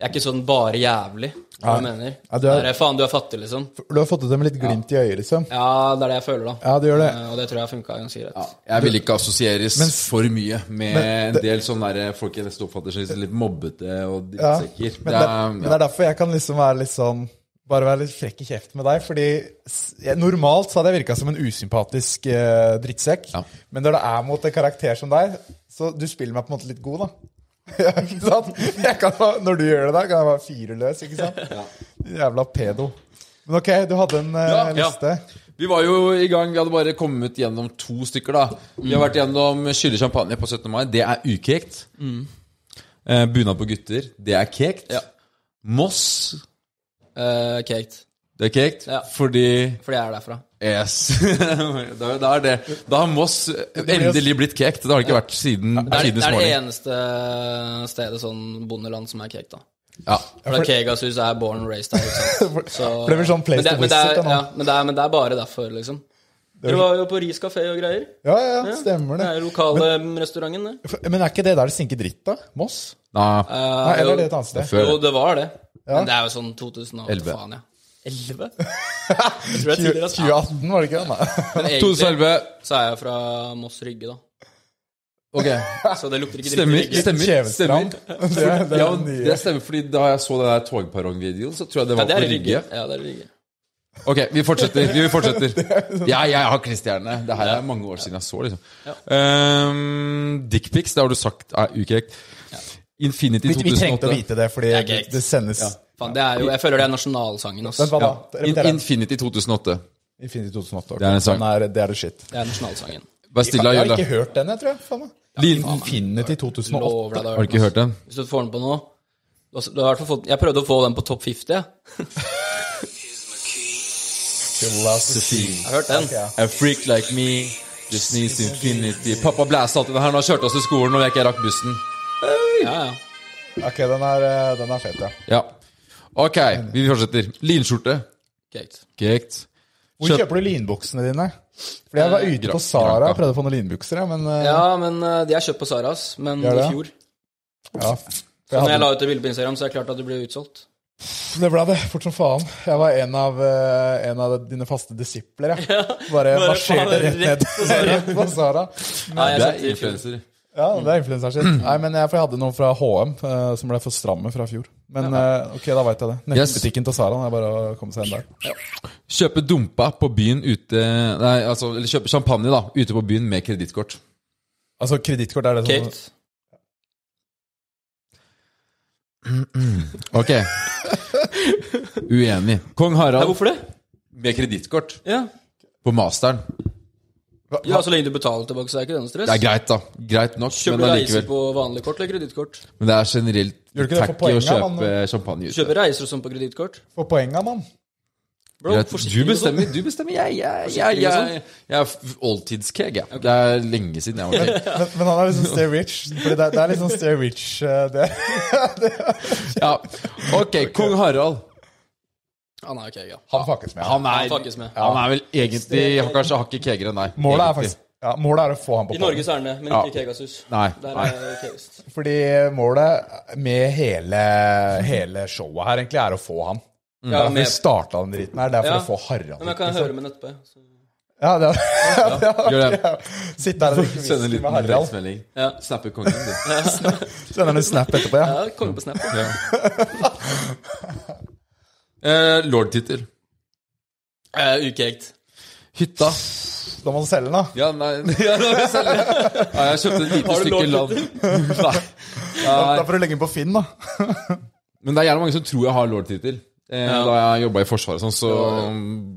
S5: Jeg er ikke sånn bare jævlig, hva jeg mener.
S4: Ja, du er-
S5: Det er, faen, du er fattig, liksom.
S4: Du har fått ut det med litt glimt i øyet, liksom.
S5: Ja, det er det jeg føler, da.
S4: Ja, du gjør det.
S5: Eh, Og det tror jeg funka ganske greit.
S3: Ja, jeg vil ikke assosieres
S4: Mens-
S3: for mye med
S4: Men det-
S3: en del sånne der eh, folk jeg nesten oppfatter som litt mobbete og
S4: Ja.
S3: drittsekker.
S4: Men, det, men det er derfor jeg kan liksom være litt sånn Bare være litt frekk i kjeften med deg. Fordi s- jeg, normalt så hadde jeg virka som en usympatisk eh, drittsekk.
S3: Ja.
S4: Men når det er mot en karakter som deg, så du spiller meg på en måte litt god, da. Ja, ikke sant? Jeg kan, bare- når du gjør det der, kan jeg være fire løs, ikke sant? Jævla pedo. Men ok, du hadde en eh,
S3: Ja, ja.
S4: liste.
S3: Vi var jo i gang, vi hadde bare kommet gjennom to stykker da Vi har vært gjennom skylle champagne på 17. mai Det er ukekt
S5: Mm.
S3: eh, Bunad på gutter, det er kekt Moss,
S5: Eh, Caked.
S3: det er kekt
S5: Ja.
S3: Fordi,
S5: Fordi jeg er derfra.
S3: yes da, da er det Da har Moss endelig blitt kekt Det har det ikke vært siden,
S5: Det er det,
S3: tidens
S5: er det
S3: morgen
S5: eneste stedet sånn bondeland som er caked, da.
S3: ja.
S5: For det er Kegashus er born and raised der, ikke sant. Så,
S4: For det blir sånn
S5: men, det,
S4: Place to
S5: men, det er,
S4: Wizard
S5: ja,
S4: nå.
S5: men, det er, men det er bare derfor, liksom. Dere var jo på Ris kafé og greier.
S4: Ja, ja, ja, stemmer
S5: Det
S4: det.
S5: er lokale mm, restauranten, det.
S4: F- Men er ikke det der det sinker dritt, da? Moss?
S3: Nei,
S5: Eh,
S4: Nei, eller
S5: jo-
S4: er det et annet sted?
S3: før
S5: Jo,
S3: det.
S5: det var det.
S4: Ja.
S5: Men det er jo sånn 2008,
S3: Elleve.
S5: faen, ja. 11? Jeg tror jeg tidligere har sagt
S4: 2018, var det ikke det? Nei.
S5: Men egentlig
S3: 2011
S5: så er jeg fra Moss Rygge, da.
S3: Ok
S5: Så det lukter ikke
S3: Stemmer.
S5: riktig Rygge.
S3: stemmer,
S4: Kjevestrand. Det er- det er
S3: Ja,
S4: den nye.
S3: det stemmer, fordi da jeg så den der togperrongvideoen, så tror jeg det
S5: Ja,
S3: var
S5: det er
S3: på Rygge.
S5: Rygge. Ja, det er Rygge.
S3: Ok, vi fortsetter. Vi fortsetter.
S4: sånn-
S3: Ja, jeg har klisterne. Det her er mange år siden jeg så, liksom. Um, Dickpics, det har du sagt er ukorrekt. Infinity
S4: Vi, vi
S3: 2008.
S4: trengte å vite det, fordi
S5: Det er
S4: det,
S5: greit.
S4: det sendes
S5: Faen, det er jo Jeg føler det er nasjonalsangen, ass.
S4: Vent, hva da?
S3: In
S4: Repeter den.
S3: Infinity 2008.
S4: Infinity 2008. ok.
S3: Det er en sang.
S4: Den er, det er det shit.
S5: Det er nasjonalsangen.
S3: Vær stille,
S4: jeg har
S3: Jølle.
S4: ikke hørt den, jeg tror jeg. Faen. meg.
S3: Liten-
S4: Infinity 2008.
S5: Lover deg det.
S3: Har du ikke hørt den?
S5: Hvis du får den på nå du har- du har i hvert fall fått, Jeg prøvde å få den på topp 50. jeg. Jeg har hørt den.
S3: A freak like me just needs infinity Pappa blæste alltid den her når han kjørte oss til skolen og jeg ikke rakk bussen.
S5: Ja, ja.
S4: Ok, den er, eh, den er fet, ja.
S3: Ja. Ok, vi fortsetter. Linskjorte.
S5: Greit.
S3: Kjekt.
S4: Hvor
S3: Kjøp-
S4: kjøper du linbuksene dine? Fordi jeg var
S5: Eh,
S4: ute
S3: gra-
S4: på Sara
S3: granka.
S4: og prøvde å få noen linbukser, ja, men eh,
S5: Ja, men eh, de er kjøpt på Saras, men
S4: Ja, det.
S5: i fjor.
S4: ja.
S5: Så
S4: Jeg
S5: når Sånn jeg
S4: hadde,
S5: la ut det bildet på Instagram, så er det klart at det ble utsolgt.
S4: det ble det, fort som faen. Jeg var en av, eh, en av dine faste disipler, jeg. Bare
S5: bare
S4: marsjerte
S5: faen,
S4: rett ned rett på Sara.
S5: Nei, jeg
S3: Det er
S5: kjøpte det i fjor.
S3: influenser.
S4: Ja, det er influenseren sin.
S5: Mm.
S4: Nei, men jeg, for jeg hadde noen fra HM eh, som ble for stramme fra fjor. Men eh, ok, da veit jeg det.
S3: Yes.
S4: Nettbutikken til Sara. Det er bare å komme seg inn der.
S3: Kjøpe dumpa på byen ute Nei, altså, eller kjøpe champagne da ute på byen med kredittkort.
S4: Altså, kredittkort er det som
S5: Caked.
S3: Ok. Uenig. Kong
S5: Nei,
S3: Harald
S5: hvorfor det?
S3: med kredittkort
S5: Ja.
S3: på masteren.
S5: ja, så lenge du betaler tilbake, så er det ikke det noe stress.
S3: Det er greit, da. Greit nok,
S5: Kjøper
S3: men
S5: du reiser
S3: allikevel.
S5: på vanlig kort eller kredittkort?
S3: Men det er generelt
S4: Gjør du ikke det for
S3: tacky å
S4: poenget,
S3: kjøpe
S4: man?
S3: champagne ute.
S5: Kjøper reiser og sånn på kredittkort?
S4: For poenga, mann.
S5: Bro,
S3: Greit. Du
S5: forsikring og sånn.
S3: bestemmer, du bestemmer. Jeg, jeg, jeg,
S5: Forsikring og
S3: jeg, jeg er oldtidskeg, jeg. Det er lenge siden jeg var keg.
S4: Men, men han er liksom stay rich. Fordi det, er- det er liksom stay rich eh, det.
S3: Ja. Ok, kong Harald.
S5: Ah, nei, ok, ja.
S4: Han fuckes med.
S3: Han er,
S5: Han fuckes med.
S3: han er vel egentlig han kanskje hakket kegere enn deg.
S4: Målet er
S3: egentlig.
S4: faktisk ja, Målet er å få han på
S5: I
S4: pallen.
S5: Norge så er den det, men
S3: Ja.
S5: ikke i Kegasus.
S3: Nei.
S5: Der
S3: nei.
S5: er det kegest.
S4: Fordi målet med hele, hele showet her egentlig er å få han.
S3: Mm.
S5: Ja,
S4: Vi
S5: med,
S4: starta den dritten her. Det er for
S5: Ja.
S4: å få Harald.
S5: ja, men jeg kan høre med nettbe. Så.
S4: Ja, det er,
S3: Gjør det.
S4: Sitte her og drikke
S3: Send en
S4: whisky med
S3: liten
S4: Harald.
S3: tekstmelding.
S5: Ja.
S3: Snappe kongen din.
S4: Send han en snap etterpå, ja.
S5: Ja, konge på snap.
S3: Eh, Lord-tittel.
S5: Eh, ukekt.
S3: Hytta.
S4: Da må du selge den, da.
S3: Ja, nei ja, det var selv. ja, Jeg kjøpte et lite
S5: Har du
S3: stykke land. Nei.
S4: Da
S3: Nei.
S4: får du legge den på Finn, da.
S3: Men det er gjerne mange som tror jeg har lord-tittel. Eh,
S5: Ja.
S3: Da jeg jobba i Forsvaret, og sånn, så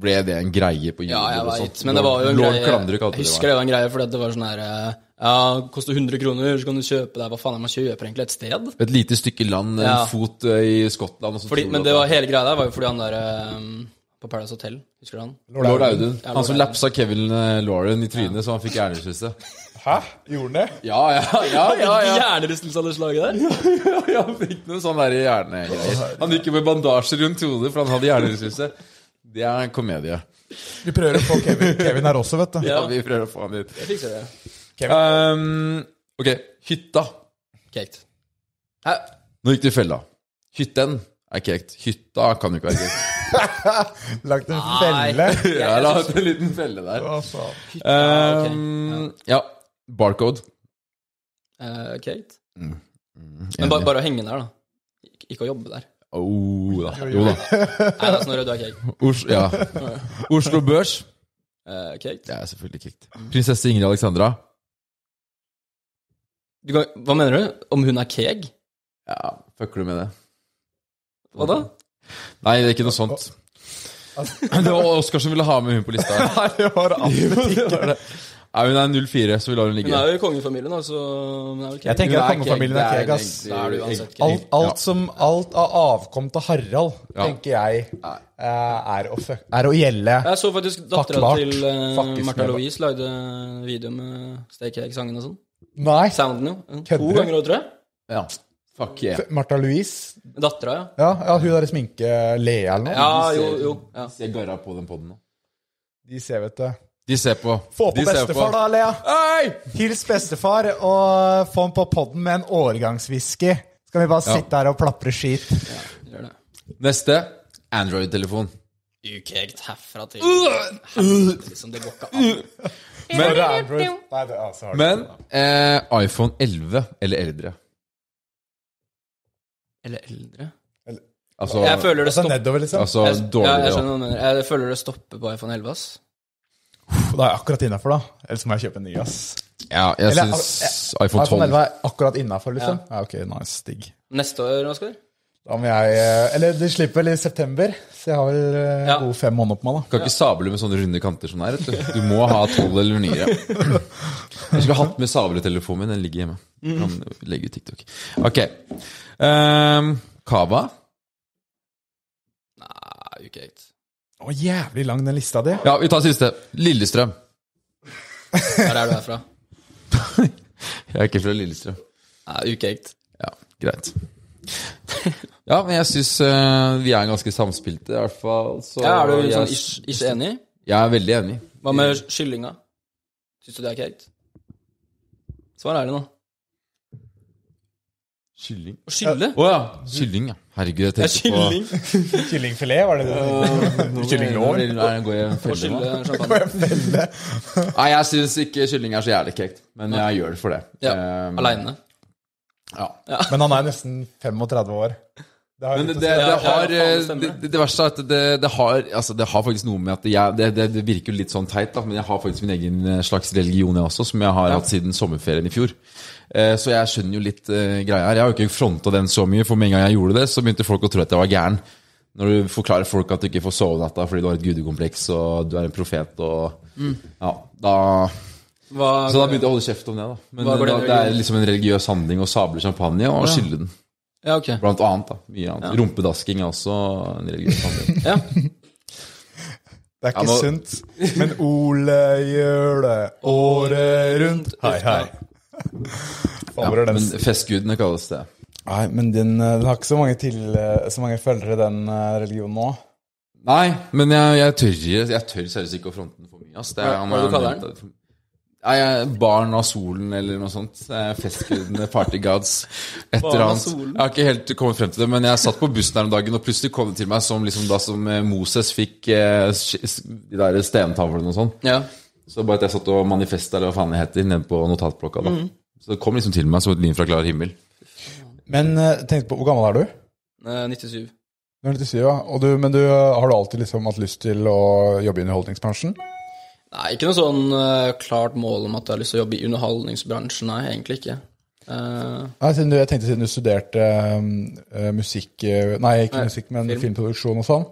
S3: ble det en greie på jul.
S5: Ja, jeg veit, men det var jo en
S3: lord
S5: greie.
S3: Klandruk,
S5: Jeg
S3: kalte
S5: husker
S3: det.
S5: det var en greie, fordi at det var sånn her eh, Ja, koster 100 kroner, så kan du kjøpe deg Hva faen er man kjøper egentlig? Et sted?
S3: Et lite stykke land, en
S5: Ja.
S3: fot eh, i Skottland. Og så
S5: Fordi,
S3: tror du
S5: men
S3: at
S5: det var hele greia der var jo fordi han der eh, på Paradise Hotel, husker du han?
S3: Lord Audun.
S5: Ja,
S3: Han som
S5: Lord Audun.
S3: lapsa Kevin eh, Lauren i trynet, så han fikk hjernerystelse.
S4: Hæ? Gjorde den det?
S3: Ja, ja, ja, ja, ja.
S5: Hjernerystelse av det slaget der?
S3: Ja, han fikk noen sånne sånn der hjernegreier. Han gikk jo med bandasje rundt hodet, for han hadde hjernerystelse. Det er en komedie.
S4: Vi prøver å få Kevin, Kevin her også, vet du.
S5: Ja.
S3: Ja, vi prøver å få han ut.
S5: Jeg fikser det.
S3: Um, ok, hytta.
S5: Kekt.
S3: Hæ? Nå gikk du i fella. Hytten er kekt. Hytta kan jo ikke være kekt.
S4: Lagt en felle.
S3: Jeg la ut en liten felle der.
S4: Hva faen?
S3: Um, ja, barcode.
S5: Eh, Kate? Men bare,
S3: Enig.
S5: bare å henge der, da. Ik- Ikke å jobbe der.
S3: Oh, da. Jo da.
S5: Nei, da, Snorre, du er cake.
S3: Os ja. Oslo Børs.
S5: Eh, cake?
S3: Det er selvfølgelig kekt. Prinsesse Ingrid Alexandra.
S5: Du kan, hva mener du? Om hun er keeg?
S3: Ja, fucker du med det?
S5: Hva da?
S3: Nei, det er ikke noe sånt. Det var Oskar som ville ha med hun på lista.
S4: Nei, det var
S3: Det var det. Nei, hun er 04, så vi lar hun ligge.
S5: Hun er jo i kongefamilien, altså. Hun er vel
S4: Jeg
S5: keeg.
S3: Hun
S4: tenker at
S3: er
S4: kongefamilien er
S3: keg,
S4: keg, ass.
S3: det
S5: Da er du
S3: egentlig-
S5: uansett keg.
S4: Alt, alt som Alt av avkom til Harald,
S3: Ja.
S4: tenker jeg,
S3: Nei.
S4: eh, er å, fuck, er å gjelde.
S5: Jeg så faktisk dattera
S4: Fuck,
S5: til eh,
S4: Fuck is
S5: Martha
S4: med-
S5: Louise lagde video med Stay Cake-sangen og sånn.
S4: Nei,
S5: Sounden, jo. To
S4: Kødder du?
S5: ganger òg, tror jeg.
S3: Ja. Fuck yeah.
S4: Martha Louise.
S5: Dattera, ja.
S4: Ja, ja hun der i sminke Lea eller noe.
S5: Ja, Ah, jo, jo. Ja.
S3: Jeg garra på den podden nå.
S4: De ser, vet du.
S3: De ser på.
S4: Få på
S3: De ser
S4: bestefar, da, Lea.
S3: Hei!
S4: Hils bestefar, og få han på podden med en årgangswhisky. Skal vi bare
S3: Ja.
S4: sitte her og plapre skit?
S5: Gjør det.
S3: Neste. Android-telefon.
S5: Ukekt herfra
S4: Uh,
S5: til Helvete, liksom, Det går ikke an.
S4: Men, Android. Nei, det, altså, har du-
S3: Men eh, iPhone 11 eller eldre.
S5: Eller eldre.
S3: Altså,
S5: Jeg føler det
S4: Altså
S5: stopper
S4: nedover, liksom.
S3: altså
S5: jeg, ja, jeg
S3: dårligere.
S5: skjønner hva du mener. Jeg føler det stopper på iPhone 11, ass.
S4: Da er jeg akkurat innafor, da. Ellers må jeg kjøpe en ny, ass.
S3: Ja, jeg
S4: Eller,
S3: syns
S4: iPhone
S3: iPhone 12
S4: 11 er akkurat innafor, liksom? Ja. ok, nice, digg.
S5: Neste år, Oskar?
S4: Da må jeg eh, Eller det slipper vel i september, så jeg har vel eh,
S5: Ja.
S4: gode fem måneder på meg, da.
S3: Kan ikke sable med sånne runde kanter som det er. vet Du Du må ha 12 eller nyere. Jeg skulle hatt med sabletelefonen min. Den ligger hjemme. Kan legge ut TikTok. Ok. Um, Kava.
S5: Nei, ukekt.
S4: Å, jævlig lang den lista di.
S3: Ja, vi tar siste. Lillestrøm.
S5: Der er du herfra.
S3: Jeg er ikke fra Lillestrøm.
S5: Nei, ukekt.
S3: Ja, greit. Ja, men jeg syns vi er ganske samspilte, i hvert fall. Så
S5: Ja, er du sånn
S3: jeg,
S5: ish, ish enig?
S3: jeg er veldig enig.
S5: Hva med kyllinga? Syns du det er korrekt? Svar ærlig nå.
S3: Kylling.
S5: Å skylle?
S3: Å ja. Kylling, ja. Herregud, jeg
S5: Det er
S3: tenker på
S5: kylling.
S4: Kyllingfilet, var det det? du- Kyllinglår?
S3: Nei, nå går jeg i en
S5: Å
S3: felle,
S5: skylle
S3: da.
S5: champagne.
S3: Nei, jeg syns ikke kylling er så jævlig kjekt, men jeg gjør det for det.
S5: Ja.
S3: Eh,
S5: Aleine.
S3: Ja.
S4: Men han er nesten 35 år. Det har
S3: Men det,
S4: litt å
S3: det,
S4: si.
S3: det,
S5: Altså, Ja,
S3: har,
S5: ja, faen, det
S3: eh,
S5: stemmer.
S3: det, det verste er at det, det, har, altså det har faktisk noe med at jeg, det, det, det virker jo litt sånn teit, da, men jeg har faktisk min egen eh, slags religion jeg også, som jeg har hatt siden sommerferien i fjor. Eh, Så jeg skjønner jo litt eh, greia her. Jeg har jo ikke fronta den så mye, for med en gang jeg gjorde det, så begynte folk å tro at jeg var gæren. Når du forklarer folk at du ikke får sove natta fordi du har et gudekompleks og du er en profet og
S5: Mm.
S3: Ja, da
S5: Hva
S3: Så da begynte jeg å holde kjeft om det, da. Men
S5: Hva går
S3: da,
S5: det-
S3: det er liksom en religiøs handling å sable champagne og skylle den.
S5: Ja, ok.
S3: Blant annet, da. Mye annet. Rumpedasking er også en religiøs handling.
S5: Ja.
S4: Det er ikke
S3: Ja, nå-
S4: sunt. Men Ole gjør det året rundt. Hei, hei. Favrer den.
S3: Men festgudene kalles det.
S4: Nei, men den, eh, den har ikke så mange, til, eh, så mange følgere, den eh, religionen nå.
S3: Nei, men jeg, jeg tør Jeg tør seriøst ikke å fronte den for mye. Ass. Det er,
S5: Hva- hva
S3: han er-
S5: du kaller den?
S3: Nei, jeg- Barn av solen, eller noe sånt. Eh, Festgudene, party gods, et
S5: Barn
S3: eller
S5: av
S3: annet.
S5: solen.
S3: Jeg har ikke helt kommet frem til det, men jeg satt på bussen her om dagen, og plutselig kom det til meg som liksom da som eh, Moses fikk eh, sk- sk- de der stentavlene og sånn.
S5: ja.
S3: Så bare at jeg satt og manifesta, eller hva faen det heter, nede på notatblokka da.
S5: Mm.
S3: Så det kom liksom til meg som et lyn fra klar himmel.
S4: Men eh, tenk på, hvor gammel er du?
S5: Eh, 97.
S4: Du er 97, ja. Og du, men du, eh, har du alltid liksom hatt lyst til å jobbe i underholdningsbransjen?
S5: Nei, ikke noe sånn eh, klart mål om at jeg har lyst til å jobbe i underholdningsbransjen. Nei, egentlig ikke. Eh,
S4: Nei, siden du, jeg tenkte siden du studerte ehm, eh, musikk eh, Nei, ikke
S5: Nei,
S4: musikk, men
S5: film.
S4: filmproduksjon og sånn.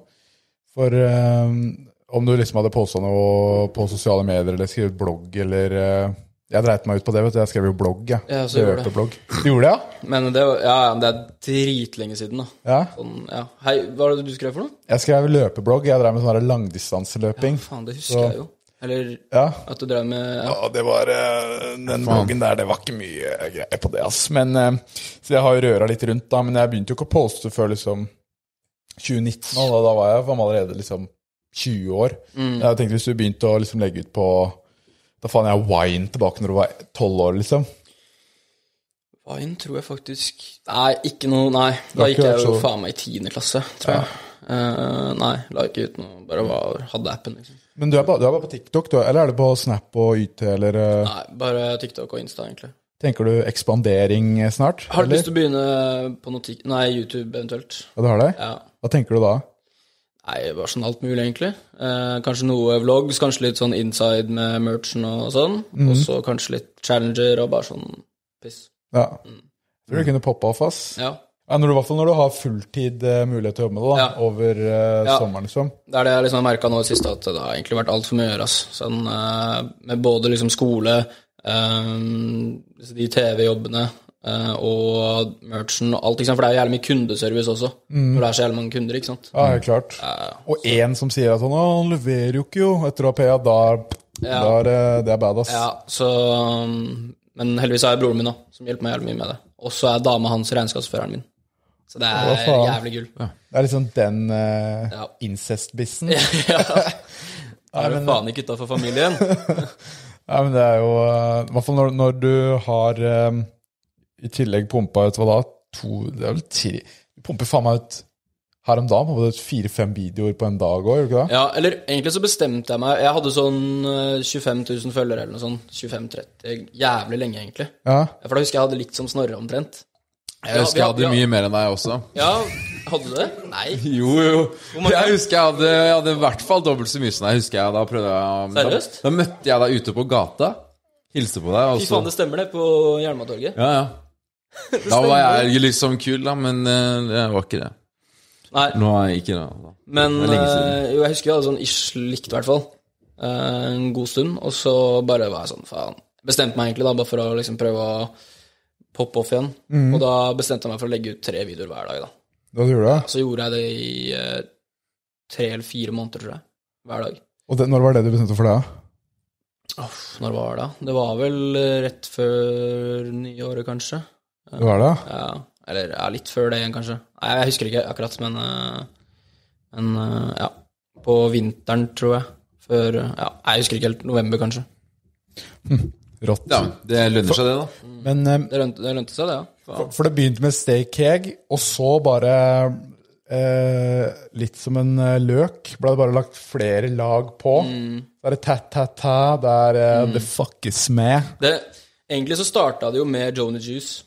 S4: For ehm, om du liksom hadde posta noe på sosiale medier eller skrevet blogg eller eh, Jeg dreit meg ut på det, vet du. Jeg skrev jo blogg, jeg.
S5: Ja, så gjorde du det.
S4: blogg. Du gjorde det, ja?
S5: men det, var- ja, ja, men det er dritlenge siden, da.
S4: ja?
S5: Sånn, ja. Hei, hva var det du skrev for noe?
S4: Jeg skrev løpeblogg. Jeg drev med sånn her langdistanseløping.
S5: Faen, det husker
S4: Så-
S5: jeg jo. Eller
S4: Ja.
S5: at du drev med ja.
S4: Ja, det var eh, Den bloggen der, det var ikke mye greier på det, ass. Men, eh, så jeg har jo røra litt rundt, da. Men jeg begynte jo ikke å poste før liksom 2019, og da, da var jeg var man allerede liksom 20 år.
S5: Mm.
S4: Jeg tenkte hvis du begynte å liksom legge ut på Da faen jeg wine tilbake når du var 12 år, liksom.
S5: Vine tror jeg faktisk Nei, ikke noe Nei.
S4: har
S5: Da
S4: ikke
S5: gikk jeg
S4: vært
S5: jo
S4: så-
S5: faen meg i tiende klasse, tror jeg. Eh, nei, la ikke ut noe. Bare var, hadde appen, liksom.
S4: Men du er, bare, du er bare på TikTok, du, eller er det på Snap og YT, eller eh,
S5: Nei, bare TikTok og Insta, egentlig.
S4: Tenker du ekspandering eh, snart?
S5: Har du
S4: eller?
S5: lyst til å begynne på noe tik... Nei, YouTube eventuelt.
S4: Ja, du har det?
S5: Ja.
S4: Hva tenker du da?
S5: Nei, bare sånn alt mulig, egentlig. Eh, kanskje noe vlogs, kanskje litt sånn inside med merchen og sånn. Og så kanskje litt challenger og bare sånn piss.
S4: Ja.
S5: Mm.
S4: Tror du kunne poppa off, ass.
S5: Ja.
S4: Ja, når du, I hvert fall når du har fulltid eh, mulighet til å jobbe med det da,
S5: Ja.
S4: over eh,
S5: Ja.
S4: sommeren. liksom.
S5: Det er det jeg liksom har merka nå i det siste, at det har egentlig vært altfor mye å gjøre. ass. Sånn, eh, med både liksom skole, eh, de TV-jobbene eh, og merchen og alt, ikke sant. For det er jo jævlig mye kundeservice også, når det er så jævlig mange kunder, ikke sant.
S4: Ja, helt klart. Og én som sier at han, «Å, han leverer jo ikke, jo, etter å ha PA, da, da
S5: Ja.
S4: er det- det er badass.
S5: Ja, så um, Men heldigvis er det broren min da, som hjelper meg jævlig mye med det. Og så er dama hans regnskapsføreren min. Så det er
S4: Hva faen?
S5: jævlig gull. Ja.
S4: Det er liksom den eh,
S5: Ja.
S4: incest-bissen.
S5: Da er du faen ikke utafor familien.
S4: Ja, men det er jo eh, I hvert fall når, når du har eh, i tillegg pumpa ut hva da? To Det er vel tre Du pumper faen meg ut her om dagen. Hadde du fire-fem videoer på en dag òg, gjorde du ikke det?
S5: Ja, eller egentlig så bestemte jeg meg Jeg hadde sånn eh, 25 000 følgere eller noe sånt. 25-30. Jævlig lenge, egentlig.
S4: Ja.
S5: For da husker jeg jeg hadde likt som Snorre omtrent.
S3: Jeg husker jeg hadde
S5: ja,
S3: mye mer enn deg også.
S5: Ja, hadde du det? Nei.
S3: Jo, jo.
S5: mange?
S3: Jeg husker jeg hadde, jeg hadde i hvert fall dobbelt så mye som deg. husker jeg Da prøvde jeg
S5: Seriøst?
S3: Da, da møtte jeg deg ute på gata. Hilste på deg.
S5: Fy
S3: Og så,
S5: faen, det stemmer, det, på Jernbanetorget.
S3: ja, ja. Da var jeg liksom kul, da, men eh, jeg var ikke det.
S5: Nei,
S3: Nå er jeg ikke det. Da.
S5: Men
S3: Det er lenge siden.
S5: eh, jo, jeg husker jeg hadde sånn ish likt, i hvert fall. Eh, en god stund. Og så bare var jeg sånn, faen. Bestemte meg egentlig da, bare for å liksom prøve å poppe off igjen.
S3: Mhm.
S5: Og da bestemte jeg meg for å legge ut tre videoer hver dag, da.
S4: Da gjorde du det.
S5: Så gjorde jeg det i eh, tre eller fire måneder, tror jeg. Hver dag.
S4: Og det, når var det du bestemte for det? da?
S5: Uff, når var det? da? Det var vel eh, rett før nyåret, kanskje.
S4: Det var det?
S5: Ja. Eller ja, litt før det igjen, kanskje. Nei, jeg husker ikke akkurat, men, eh, men eh, ja. På vinteren, tror jeg. Før eh, Ja, jeg husker ikke helt. November, kanskje.
S4: Rått.
S3: Ja, det lønner seg, det, da.
S4: Men eh,
S5: Det lønte, det lønte seg, det, ja.
S4: for, for det begynte med steak egg, og så bare eh, Litt som en eh, løk. Ble det bare lagt flere lag på. Det er ta-ta-ta, det er eh,
S5: Mm.
S4: det fuckes med.
S5: Det, egentlig så starta det jo med Joni Juice.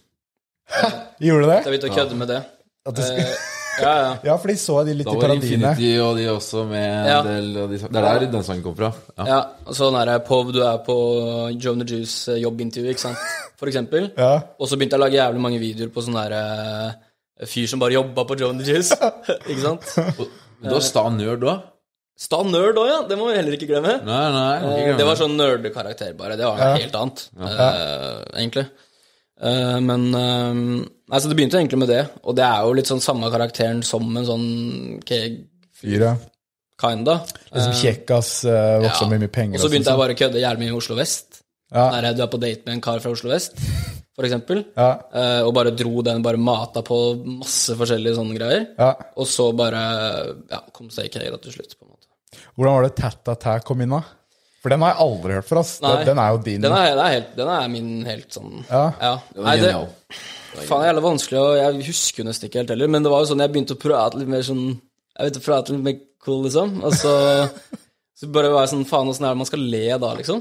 S4: Gjorde det
S5: Jeg
S4: det?
S5: begynte å kødde med det.
S4: At det
S5: Eh,
S4: skulle,
S5: ja, ja.
S4: ja, for de så de litt
S3: Da
S4: i
S3: var
S4: paradiene.
S3: Infinity og de også med en
S5: Ja.
S3: del av de Det er der den sangen kom fra. Ja.
S5: Ja, og sånn er det på du er på Joan the Juice eh, jobbintervju, ikke sant, for eksempel.
S4: Ja.
S5: Og så begynte jeg å lage jævlig mange videoer på sånn derre fyr som bare jobba på Joan the Juice, ikke sant.
S3: Og, da sta nerd òg.
S5: Sta nerd òg, ja, det må vi heller ikke glemme.
S3: Nei, nei. ikke
S5: Eh,
S3: glemme
S5: Det var sånn nerdekarakter, bare. Det var noe helt annet, eh, egentlig. Eh, men eh, Nei, så det begynte egentlig med det, og det er jo litt sånn samme karakteren som en sånn keg,
S4: Fyra.
S5: kinda.
S4: Liksom kjekkas uh, vokste
S5: Eh, ja.
S4: opp med mye penger.
S5: Og så begynte
S4: sånn.
S5: jeg bare å kødde jævlig mye i Oslo vest.
S4: Ja.
S5: Der du er på date med en kar fra Oslo vest, for eksempel.
S4: Ja.
S5: Eh, og bare dro den, bare mata på masse forskjellige sånne greier.
S4: Ja.
S5: Og så bare ja, kom seg i da til slutt, på en måte.
S4: Hvordan var det ta-ta-ta kom inn, da? For den har jeg aldri hørt for, ass. Den, den er jo din.
S5: Den er, den er, helt, den er min helt sånn
S4: Ja.
S5: Nei, det
S3: genial.
S5: faen, det er jævlig vanskelig, og jeg husker jo nesten ikke helt heller. Men det var jo sånn jeg begynte å prate litt mer sånn Jeg vet, prate litt mer cool, liksom. Og så, så bare var jeg sånn Faen, åssen er det man skal le da, liksom?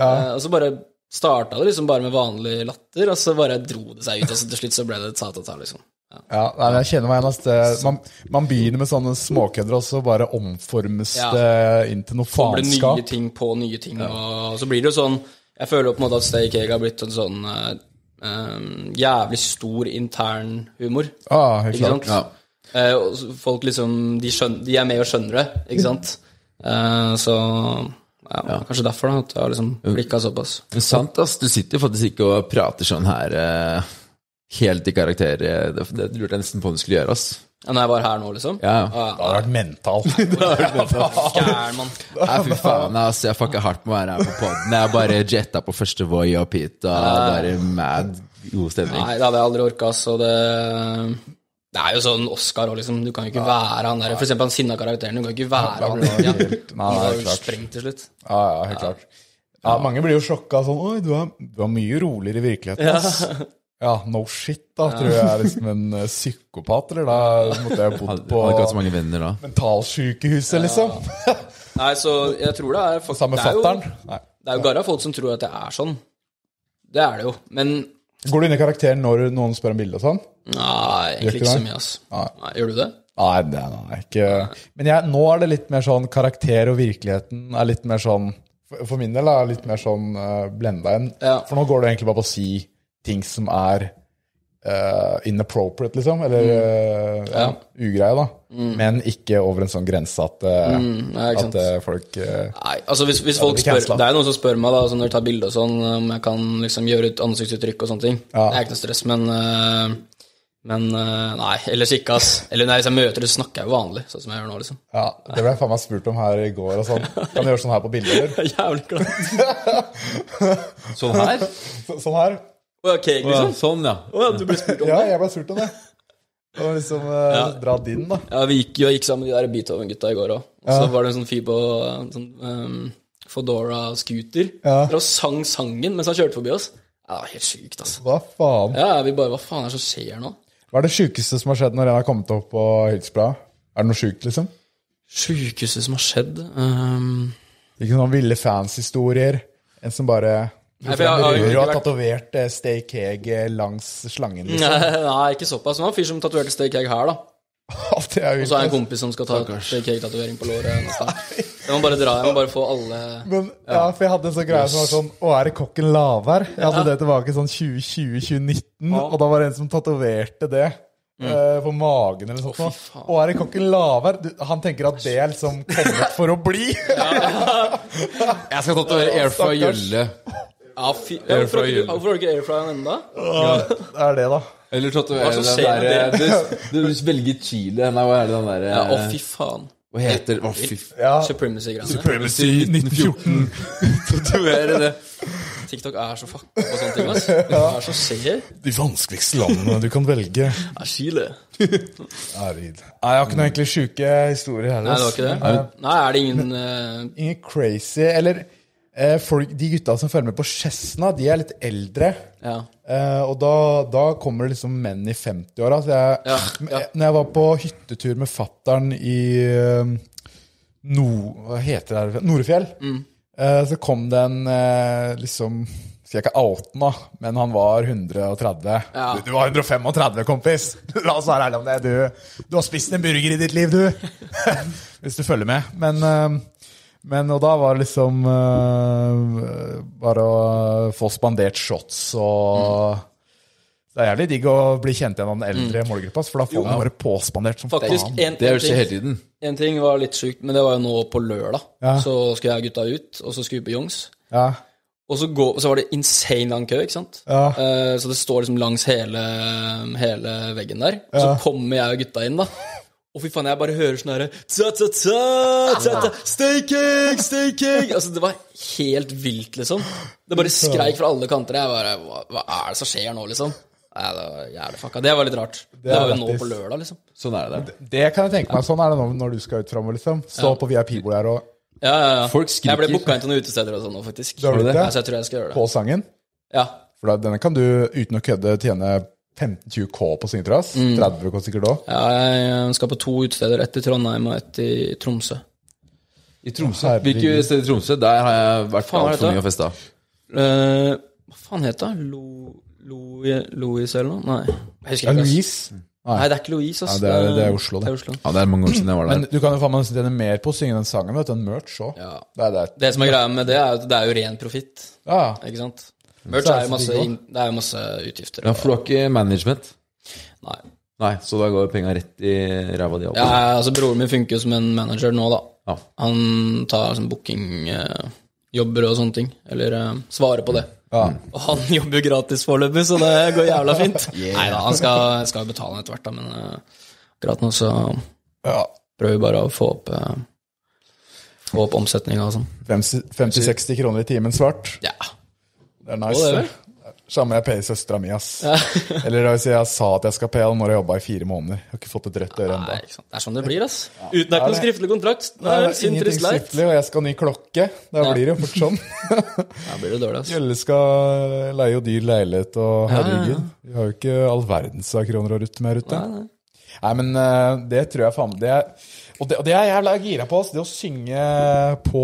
S5: Eh, og så bare starta det liksom bare med vanlig latter, og så bare dro det seg ut. Og så til slutt så ble det et satata, liksom. Ja.
S4: Ja, nei, men jeg kjenner meg igjen. ass. Det- Man, man begynner med sånne småkødder, og så bare omformes
S5: Ja.
S4: det inn til noe
S5: Det blir nye
S4: faenskap.
S5: ting på nye ting, og så blir det jo sånn Jeg føler jo på en måte at Stay Cake har blitt en sånn eh, eh, jævlig stor intern humor.
S4: Ah, helt
S5: Ikke
S4: klart.
S5: sant? Eh, og så folk liksom de, skjøn- de er med og skjønner det, ikke sant? Eh, så Mm. ja, kanskje derfor, da, at jeg har liksom blikka såpass.
S3: Men sant, ass. Du sitter jo faktisk ikke og prater sånn her eh, helt i karakter. eh, Det, det lurte jeg nesten på om du skulle gjøre, ass.
S5: Ja, Når jeg var her nå, liksom.
S3: Ja, ja.
S4: Det hadde vært mental. Det hadde vært mental.
S5: Gæren, mann.
S3: Nei, fy faen, ass. Jeg fucka hardt med å være her på poden. Jeg bare jetta på første Voi opp hit, og bare mad god stemning.
S5: Nei, det hadde jeg aldri orka, så det Det er jo sånn Oscar òg, liksom. Du kan jo ikke være han der. For eksempel han sinna karakteren. Du kan jo ikke være han.
S4: blir
S5: Ja.
S4: det helt-
S5: Han
S4: Nei, nei,
S5: var jo
S4: klart.
S5: sprengt til slutt.
S4: Ja, ja, helt klart. Ja, mange blir jo sjokka sånn Oi, du er, du er mye roligere i virkeligheten, ass. Ja, no shit, da. Tror jeg er liksom en eh, psykopat, eller da måtte jeg bodd
S3: Hadde,
S4: på
S3: hadde ikke hatt så mange venner da.
S4: mentalsykehuset, liksom.
S5: Nei, så jeg tror det er folk,
S4: Sammen
S5: det
S4: med
S5: er jo-
S4: fatter'n. Nei.
S5: Det er jo garra folk som tror at jeg er sånn. Det er det jo. Men
S4: Går du inn i karakteren når noen spør om bilde og sånn?
S5: nei, egentlig ikke så mye, ass. Nei, gjør du det?
S4: Nei, det er nei, ikke Men jeg, nå er det litt mer sånn karakter og virkeligheten er litt mer sånn For for min del er det litt mer sånn uh, blenda inn.
S5: Ja.
S4: For nå går det egentlig bare på å si ting som er eh, inappropriate, liksom. Eller
S5: Mm.
S4: eh, ja. ugreie, da. Men ikke over en sånn grense at, eh,
S5: ja, Mm, ikke sant.
S4: at eh, folk eh,
S5: Nei, altså hvis, hvis folk
S4: blir
S5: spør
S4: cancela.
S5: Det er jo noen som spør meg da altså når de tar bilde og sånn, om jeg kan liksom gjøre ut ansiktsuttrykk og sånne ting.
S4: Ja.
S5: Det er ikke noe stress, men øh, Men øh, nei, ellers ikke, ass. Eller nei, hvis jeg møter det, så snakker jeg jo vanlig, sånn som jeg gjør nå, liksom.
S4: Ja, det ble jeg faen meg spurt om her i går og sånn. Kan du gjøre sånn her på bilder? eller?
S5: Jævlig glatt.
S3: Sånn her?
S4: Så, sånn her?
S5: Ok,
S3: Ja,
S5: liksom.
S3: sånn, ja.
S5: Å ja, du ble spurt om
S4: Ja,
S5: det?
S4: jeg ble spurt om det. Og liksom eh, dra din, da.
S5: Ja, vi gikk jo gikk sammen med de der Beethoven-gutta i går òg. Og så var det en sånn fyr på øh, sånn øhm, Fodora-scooter.
S4: Ja.
S5: Der og sang sangen mens han kjørte forbi oss. Ja, det var helt sjukt, ass.
S4: Hva faen?
S5: Ja, vi bare Hva faen er det som skjer nå?
S4: Hva er det sjukeste som har skjedd når en har kommet opp på Hilsbladet? Er det noe sjukt, liksom?
S5: Sjukeste som har skjedd ehm. Øhm,
S4: Ikke noen ville fanshistorier? En som bare
S5: Nei, for jeg har jo
S4: rører
S5: ikke
S4: og har
S5: vært-
S4: tatovert eh, Steak Heg eh, langs slangen, liksom.
S5: Nei, nei, ikke såpass. Det var en fyr som tatoverte Stay Cake her, da.
S4: Det er jo
S5: Og så er det en
S4: ikke-
S5: kompis som skal ta Stay Cake-tatovering på låret neste gang. Jeg må bare dra, jeg må bare få alle
S4: Men, ja, for jeg hadde en sånn greie som var sånn Å, er det kokken Lavær? Jeg hadde det tilbake i sånn 2020-2019, og da var det en som tatoverte det. eh, På magen eller noe sånt.
S5: Mm. faen.
S4: Å, er det kokken Lavær? Du, Han tenker at det er liksom kommet for å bli!
S3: Jeg skal tatovere Air fra Jølle.
S5: Ja, fy ja, Hvorfor har du ikke- hvorfor har du ikke airfryeren ennå?
S4: Det er det, da.
S3: Eller
S5: Hva
S3: tatovere
S5: som
S3: den
S5: skjer med
S3: derre du, du velger Chile. Nei, hva er det den derre
S5: Ja, å, fy faen.
S3: Hva heter Å, fy
S4: Ja.
S5: Supremacy-greiene.
S4: Supremacy 1914.
S3: Tatovere det.
S5: TikTok er så fucka på sånne ting. ass. Det er så skjer.
S4: De vanskeligste landene du kan velge.
S5: Det er Chile.
S4: Arvid. Nei, jeg har ikke noen egentlig sjuke historier her.
S5: Nei, det var
S4: ass.
S5: ikke det. Nei, er det ingen eh,
S4: Ingen crazy Eller eh, folk, de gutta som følger med på Chesna, de er litt eldre.
S5: Ja.
S4: Eh, og da, da kommer det liksom menn i 50-åra. Så jeg,
S5: Ja, ja.
S4: Når jeg var på hyttetur med fattern i eh, Nord... Hva heter det her? Norefjell.
S5: Mm.
S4: Eh, så kom det en eh, liksom Skal jeg ikke oute den, da, men han var 130.
S5: Ja.
S4: Du, du var 135, kompis! La oss være ærlige om det. Du, du har spist en burger i ditt liv, du! Hvis du følger med. Men eh, men og da var det liksom eh, bare å få spandert shots og Det er jævlig digg å bli kjent igjen av den eldre målgruppa, for da får man bare påspandert som
S5: Faktisk,
S4: faen.
S5: en,
S3: Det
S5: en,
S3: gjør skje hele
S5: ting,
S3: tiden.
S5: en ting var litt sjukt, men det var jo nå på lørdag.
S4: Ja.
S5: Så skulle jeg og gutta ut, og så skulle vi på Youngs.
S4: Ja.
S5: Og så, går, og så var det insane lang kø, ikke sant?
S4: Ja.
S5: Eh, så det står liksom langs hele, hele veggen der. Og så
S4: Ja.
S5: kommer jeg og gutta inn, da. Og fy faen, jeg bare hører sånn herre Ta-ta-ta! ta-ta, Staking! Staking! Altså, det var helt vilt, liksom. Det bare skreik fra alle kanter. Jeg bare Hva, hva er det som skjer nå, liksom? Nei, det var jævlig fucka. Det var litt rart. Det,
S4: er
S5: var jo nå
S4: lættis.
S5: på lørdag, liksom.
S3: Sånn er det der.
S4: Det kan jeg tenke meg. Sånn er det nå når du skal ut framover, liksom. Stå på VIP-bordet her og
S5: Ja, ja, ja.
S3: Folk skriker.
S5: Jeg ble booka inn til noen utesteder og sånn nå, faktisk.
S4: Har du det?
S5: Ja, så jeg tror jeg skal gjøre det.
S4: på sangen.
S5: Ja.
S4: For da, denne kan du uten å kødde tjene 15-20 K på synge til oss. 30 K sikkert òg.
S5: Ja, Jeg skal på to utesteder. Ett i Trondheim og ett i Tromsø.
S3: I Tromsø.
S4: Herregud.
S3: Hvilket sted i Tromsø? Der har jeg vært
S5: Faen, hva er
S3: altfor
S5: dette?
S3: mye og festa.
S5: Eh, hva faen heter det? Lo, Lo, Louis eller noe? Nei. Jeg husker
S4: Ja,
S5: ikke. ass.
S4: Louise.
S5: Nei, det er ikke Louise, ass.
S4: Ja, det er- det er Oslo, det.
S5: det. Er Oslo.
S3: Ja, det er mange år siden jeg var der.
S4: Men du kan jo faen meg nesten tjene mer på å synge den sangen vet du, enn merch òg.
S5: Ja.
S4: Det er det.
S5: Det som er greia med det, er at det er jo ren profitt,
S4: Ja.
S5: ikke sant? Merch
S4: Så er
S5: er
S4: det
S5: jo
S4: så
S5: masse,
S4: digg også.
S5: inn- det er jo masse utgifter.
S3: Ja, for du har ikke management?
S5: Nei.
S3: Nei, så da går penga rett i ræva di.
S5: Ja,
S3: Ja.
S5: altså, broren min funker jo som en manager nå, da.
S3: Ja.
S5: Han tar sånn bookingjobber og sånne ting. Eller eh, svarer på det. Og han jobber jo gratis foreløpig, så det går jævla fint. Nei da, han skal, skal jo betale etter hvert, da, men eh, akkurat nå så
S4: ja.
S5: prøver vi bare å få opp eh, Få opp omsetninga og sånn.
S4: 50-60 kroner i timen svart.
S5: Ja.
S4: Det er
S5: Å,
S4: nice.
S5: det er
S4: det. Samme jeg payer søstera mi, ass. Eller det vil si, jeg sa at jeg skal paye han når jeg jobba i fire måneder. Jeg har ikke fått et rødt øre
S5: Nei,
S4: ennå.
S5: ikke sant. Det er sånn det blir, ass. Uten det er ikke noen skriftlig kontrakt. Det er synd,
S4: Ingenting
S5: trist, leit.
S4: skriftlig, og jeg skal ha ny klokke. Da
S5: Ja.
S4: blir det jo fort sånn.
S5: Da blir det dårlig, ass.
S4: Gjelle skal leie jo dyr leilighet, og herregud. Vi har jo ikke all verdens av kroner å rutte med her ute. Nei, men eh, det tror jeg faen det er, og, det, og det er jeg jævla gira på, ass. Det å synge på,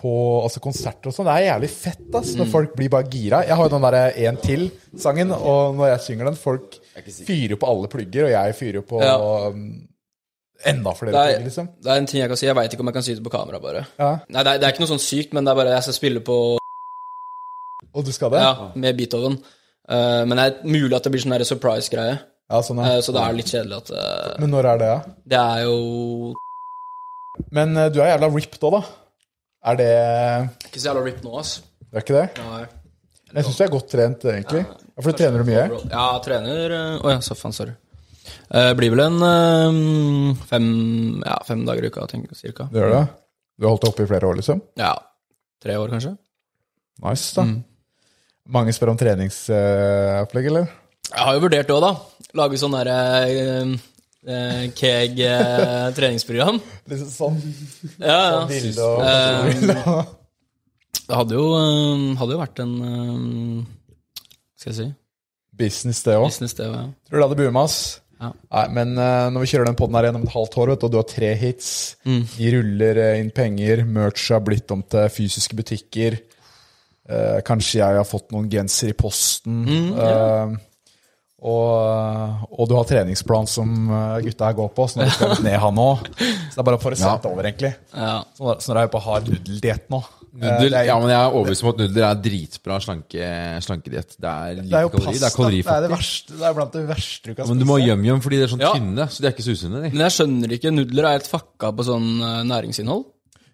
S4: på altså konserter og sånn, det er jævlig fett, ass.
S5: Mm.
S4: Når folk blir bare gira. Jeg har jo den derre En til-sangen, og når jeg synger den, folk fyrer jo på alle plugger, og jeg fyrer jo på
S5: Ja.
S4: um, enda flere
S5: Det
S4: plugger,
S5: er,
S4: liksom.
S5: det er en ting jeg kan si. Jeg veit ikke om jeg kan si det på kamera, bare.
S4: Ja.
S5: Nei, det er, det er ikke noe sånn sykt, men det er bare jeg skal spille på
S4: Og du skal det? Ja,
S5: Ja, med Beethoven. Eh, men det er mulig at det blir sånn der surprise-greie.
S4: sånn
S5: Eh,
S4: er
S5: så det er litt kjedelig at eh,
S4: Men når er det, da? Ja?
S5: Det er jo
S4: Men eh, du er jævla ripped òg, da. Er det
S5: Ikke så jævla ripped nå, ass.
S4: Du er ikke det?
S5: Nei.
S4: Men Jeg syns du er godt trent, egentlig. Ja, for du trener du mye?
S5: Ja, jeg trener Å ja, så faen, sorry. Eh, blir vel en eh, fem, ja, fem dager i uka, tenker jeg, cirka.
S4: Du gjør det? Du har holdt det oppe i flere år, liksom?
S5: Ja. Tre år, kanskje?
S4: Nice, da. Mange spør om treningsopplegg, eller?
S5: Jeg har jo vurdert det òg, da. Lage sånn eh, derre eh, Keg-treningsprogram.
S4: Liksom sånn
S5: ja, ja.
S4: bilde og
S5: Eh,
S4: Ja.
S5: det hadde jo, eh, hadde jo vært en eh, Skal jeg si
S4: Business, det òg.
S5: business, det. Ja.
S4: Tror du det hadde booma, ass.
S5: Ja.
S4: Nei, men eh, når vi kjører den poden her gjennom et halvt år, vet du, og du har tre hits, de ruller eh, inn penger, merch har blitt om til fysiske butikker eh, Kanskje jeg har fått noen genser i posten. eh, og, eh, og du har treningsplan som eh, gutta her går på, så nå skal jeg litt ned han òg. Så det er bare for å sette over, egentlig.
S5: ja.
S4: Så nå- så nå Sånn er jeg på hard nudeldiett nå. Eh,
S3: Nudel,
S4: det er-
S3: ja, men jeg er overbevist om at nudler er dritbra slanke, slankediett. Det er
S4: det er
S3: lite
S4: jo
S3: kalori. Det
S4: pasta.
S3: er kalorifattig.
S4: det, verste, det er blant det verste du kan
S3: Men du må ha yum-yum, fordi de er sånn
S5: Ja.
S3: tynne, så de er ikke så usunne. De.
S5: Men jeg skjønner ikke. Nudler er helt fucka på sånn eh, næringsinnhold.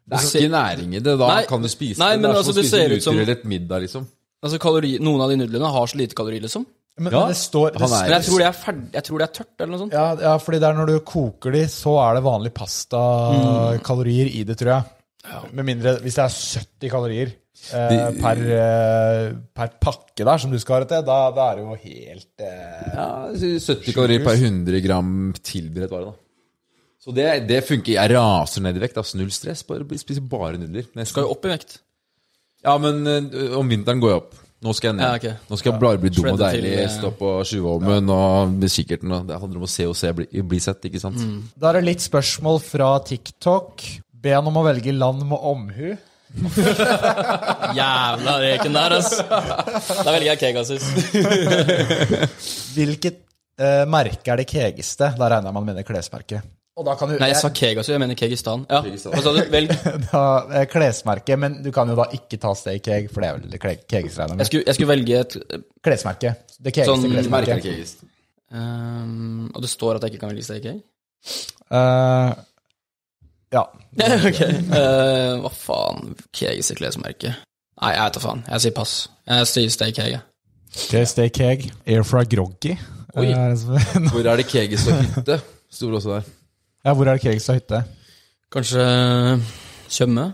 S3: Det er sånn ikke næring i det. Da
S5: Nei,
S3: kan du spise
S5: nei,
S3: det.
S5: men
S3: det. er
S5: altså,
S3: som å
S5: det
S3: spise
S5: ser ut som-
S3: luter eller et middag, liksom.
S5: Altså kalori, Noen av de nudlene har så lite kalori, liksom.
S4: Men,
S3: Ja,
S4: men det står, det
S3: han er-
S5: Men jeg tror det er, ferd, jeg tror det er tørt, eller noe sånt.
S4: Ja,
S3: Mm.
S4: ja, fordi det er når du koker de, så er det vanlig pasta-kalorier i det, tror jeg. Med mindre hvis det er 70 kalorier eh, per, eh, per pakke der som du skal ha det til, da, da er det jo helt eh,
S3: Ja, 70 kalorier per 100 gram tilberedt vare, da. Så det, det funker. Jeg raser ned i vekt. Altså null stress. Bare spiser bare nudler. Men jeg
S5: Skal
S3: skal
S5: jo opp i vekt.
S3: Ja, men ø, om vinteren går jeg opp. Nå skal jeg ned.
S5: Ja, ok.
S3: Nå skal jeg bare bli dum og
S5: Shredder
S3: deilig.
S5: til, eh,
S3: Stå på sjuvolmen og med kikkerten. og Det handler om å se og se bli, bli sett, ikke sant?
S5: Mm.
S4: Da er det litt spørsmål fra TikTok. Be han om å velge land med omhu.
S5: Jævla reken der, altså. Da velger jeg Kegasus.
S4: Hvilket eh, merke er det kegeste? Da regner jeg med han mener klesmerket. Og da kan du,
S5: Nei, jeg sa Kegasus, jeg mener Kegistan. Ja, hva sa du? Velg.
S4: da, eh, klesmerke, men du kan jo da ikke ta steg keg, for det er vel det kle- kegeste regner jeg
S5: Jeg
S4: med.
S5: skulle, jeg skulle velge et
S4: Klesmerke. Det kegeste
S5: Sånn
S4: klesmerket.
S5: ehm, Og det står at jeg ikke kan velge stekegg?
S4: Eh, ja.
S5: ok. Eh, hva faen? Keges i klesmerke? Nei, jeg vet da faen. Jeg sier pass. Jeg sier stekegg. jeg.
S4: Okay, steg keg. Air fra Groggy.
S5: Oi.
S4: Eh, som-
S3: Hvor er det Kegis og hytte? Sto det også der.
S4: ja, hvor er det kegeste hytte?
S5: Kanskje eh, Tjøme?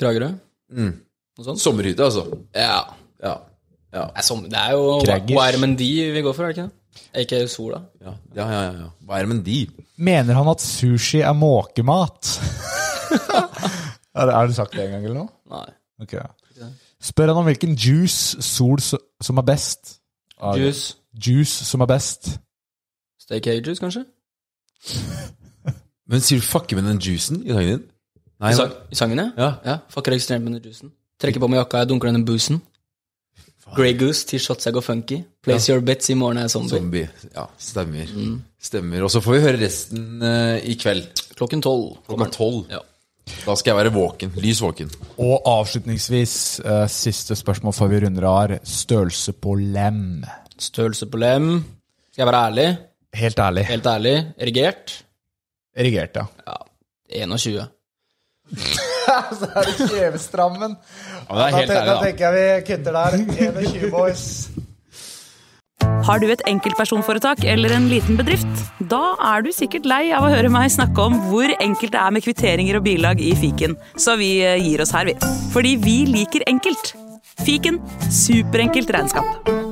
S5: Kragerø?
S3: Mm.
S5: Noe sånt?
S3: Sommerhytte, altså.
S5: Ja.
S3: Ja. ja.
S5: Nei, som- Det er jo
S4: Kragers.
S5: Wermendi vi går for, er det ikke det? Ikke Sola?
S3: Ja, ja, ja. ja, ja. Hva er det med de?
S4: Mener han at sushi er måkemat? er det, er det sagt det en gang eller noe?
S5: Nei.
S4: Ok. Spør han om hvilken juice sol s- som er best? Er det-
S5: Juice?
S4: Juice som er best.
S5: Steakage juice, kanskje?
S3: Men sier du 'fucke med den juicen' i sangen din? Nei, nei.
S5: I, sang, I sangen, ja?
S3: Ja.
S5: Fucker ekstremt med den juicen. Trekker på meg jakka, jeg dunker denne boosen. Grey Goose, T-shots jeg går funky. Place your bets, i morgen er jeg zombie.
S3: Zombie. Ja, stemmer. Stemmer. Og så får vi høre resten eh, i kveld.
S5: Klokken tolv.
S3: Klokka tolv.
S5: Ja.
S3: Da skal jeg være våken. Lys våken.
S4: Og avslutningsvis, eh, siste spørsmål før vi runder av, er størrelse på lem.
S5: Størrelse på lem. Skal jeg være ærlig?
S4: Helt ærlig.
S5: Helt ærlig. Erigert?
S4: Erigert, ja.
S5: Ja, 21.
S4: Kjevestrammen.
S3: Ja, det er helt ærlig, da.
S4: tenker jeg vi kutter der. 21 boys.
S7: Har du et enkeltpersonforetak eller en liten bedrift? Da er du sikkert lei av å høre meg snakke om hvor enkelt det er med kvitteringer og bilag i fiken, så vi eh, gir oss her, vi. Fordi vi liker enkelt. Fiken superenkelt regnskap.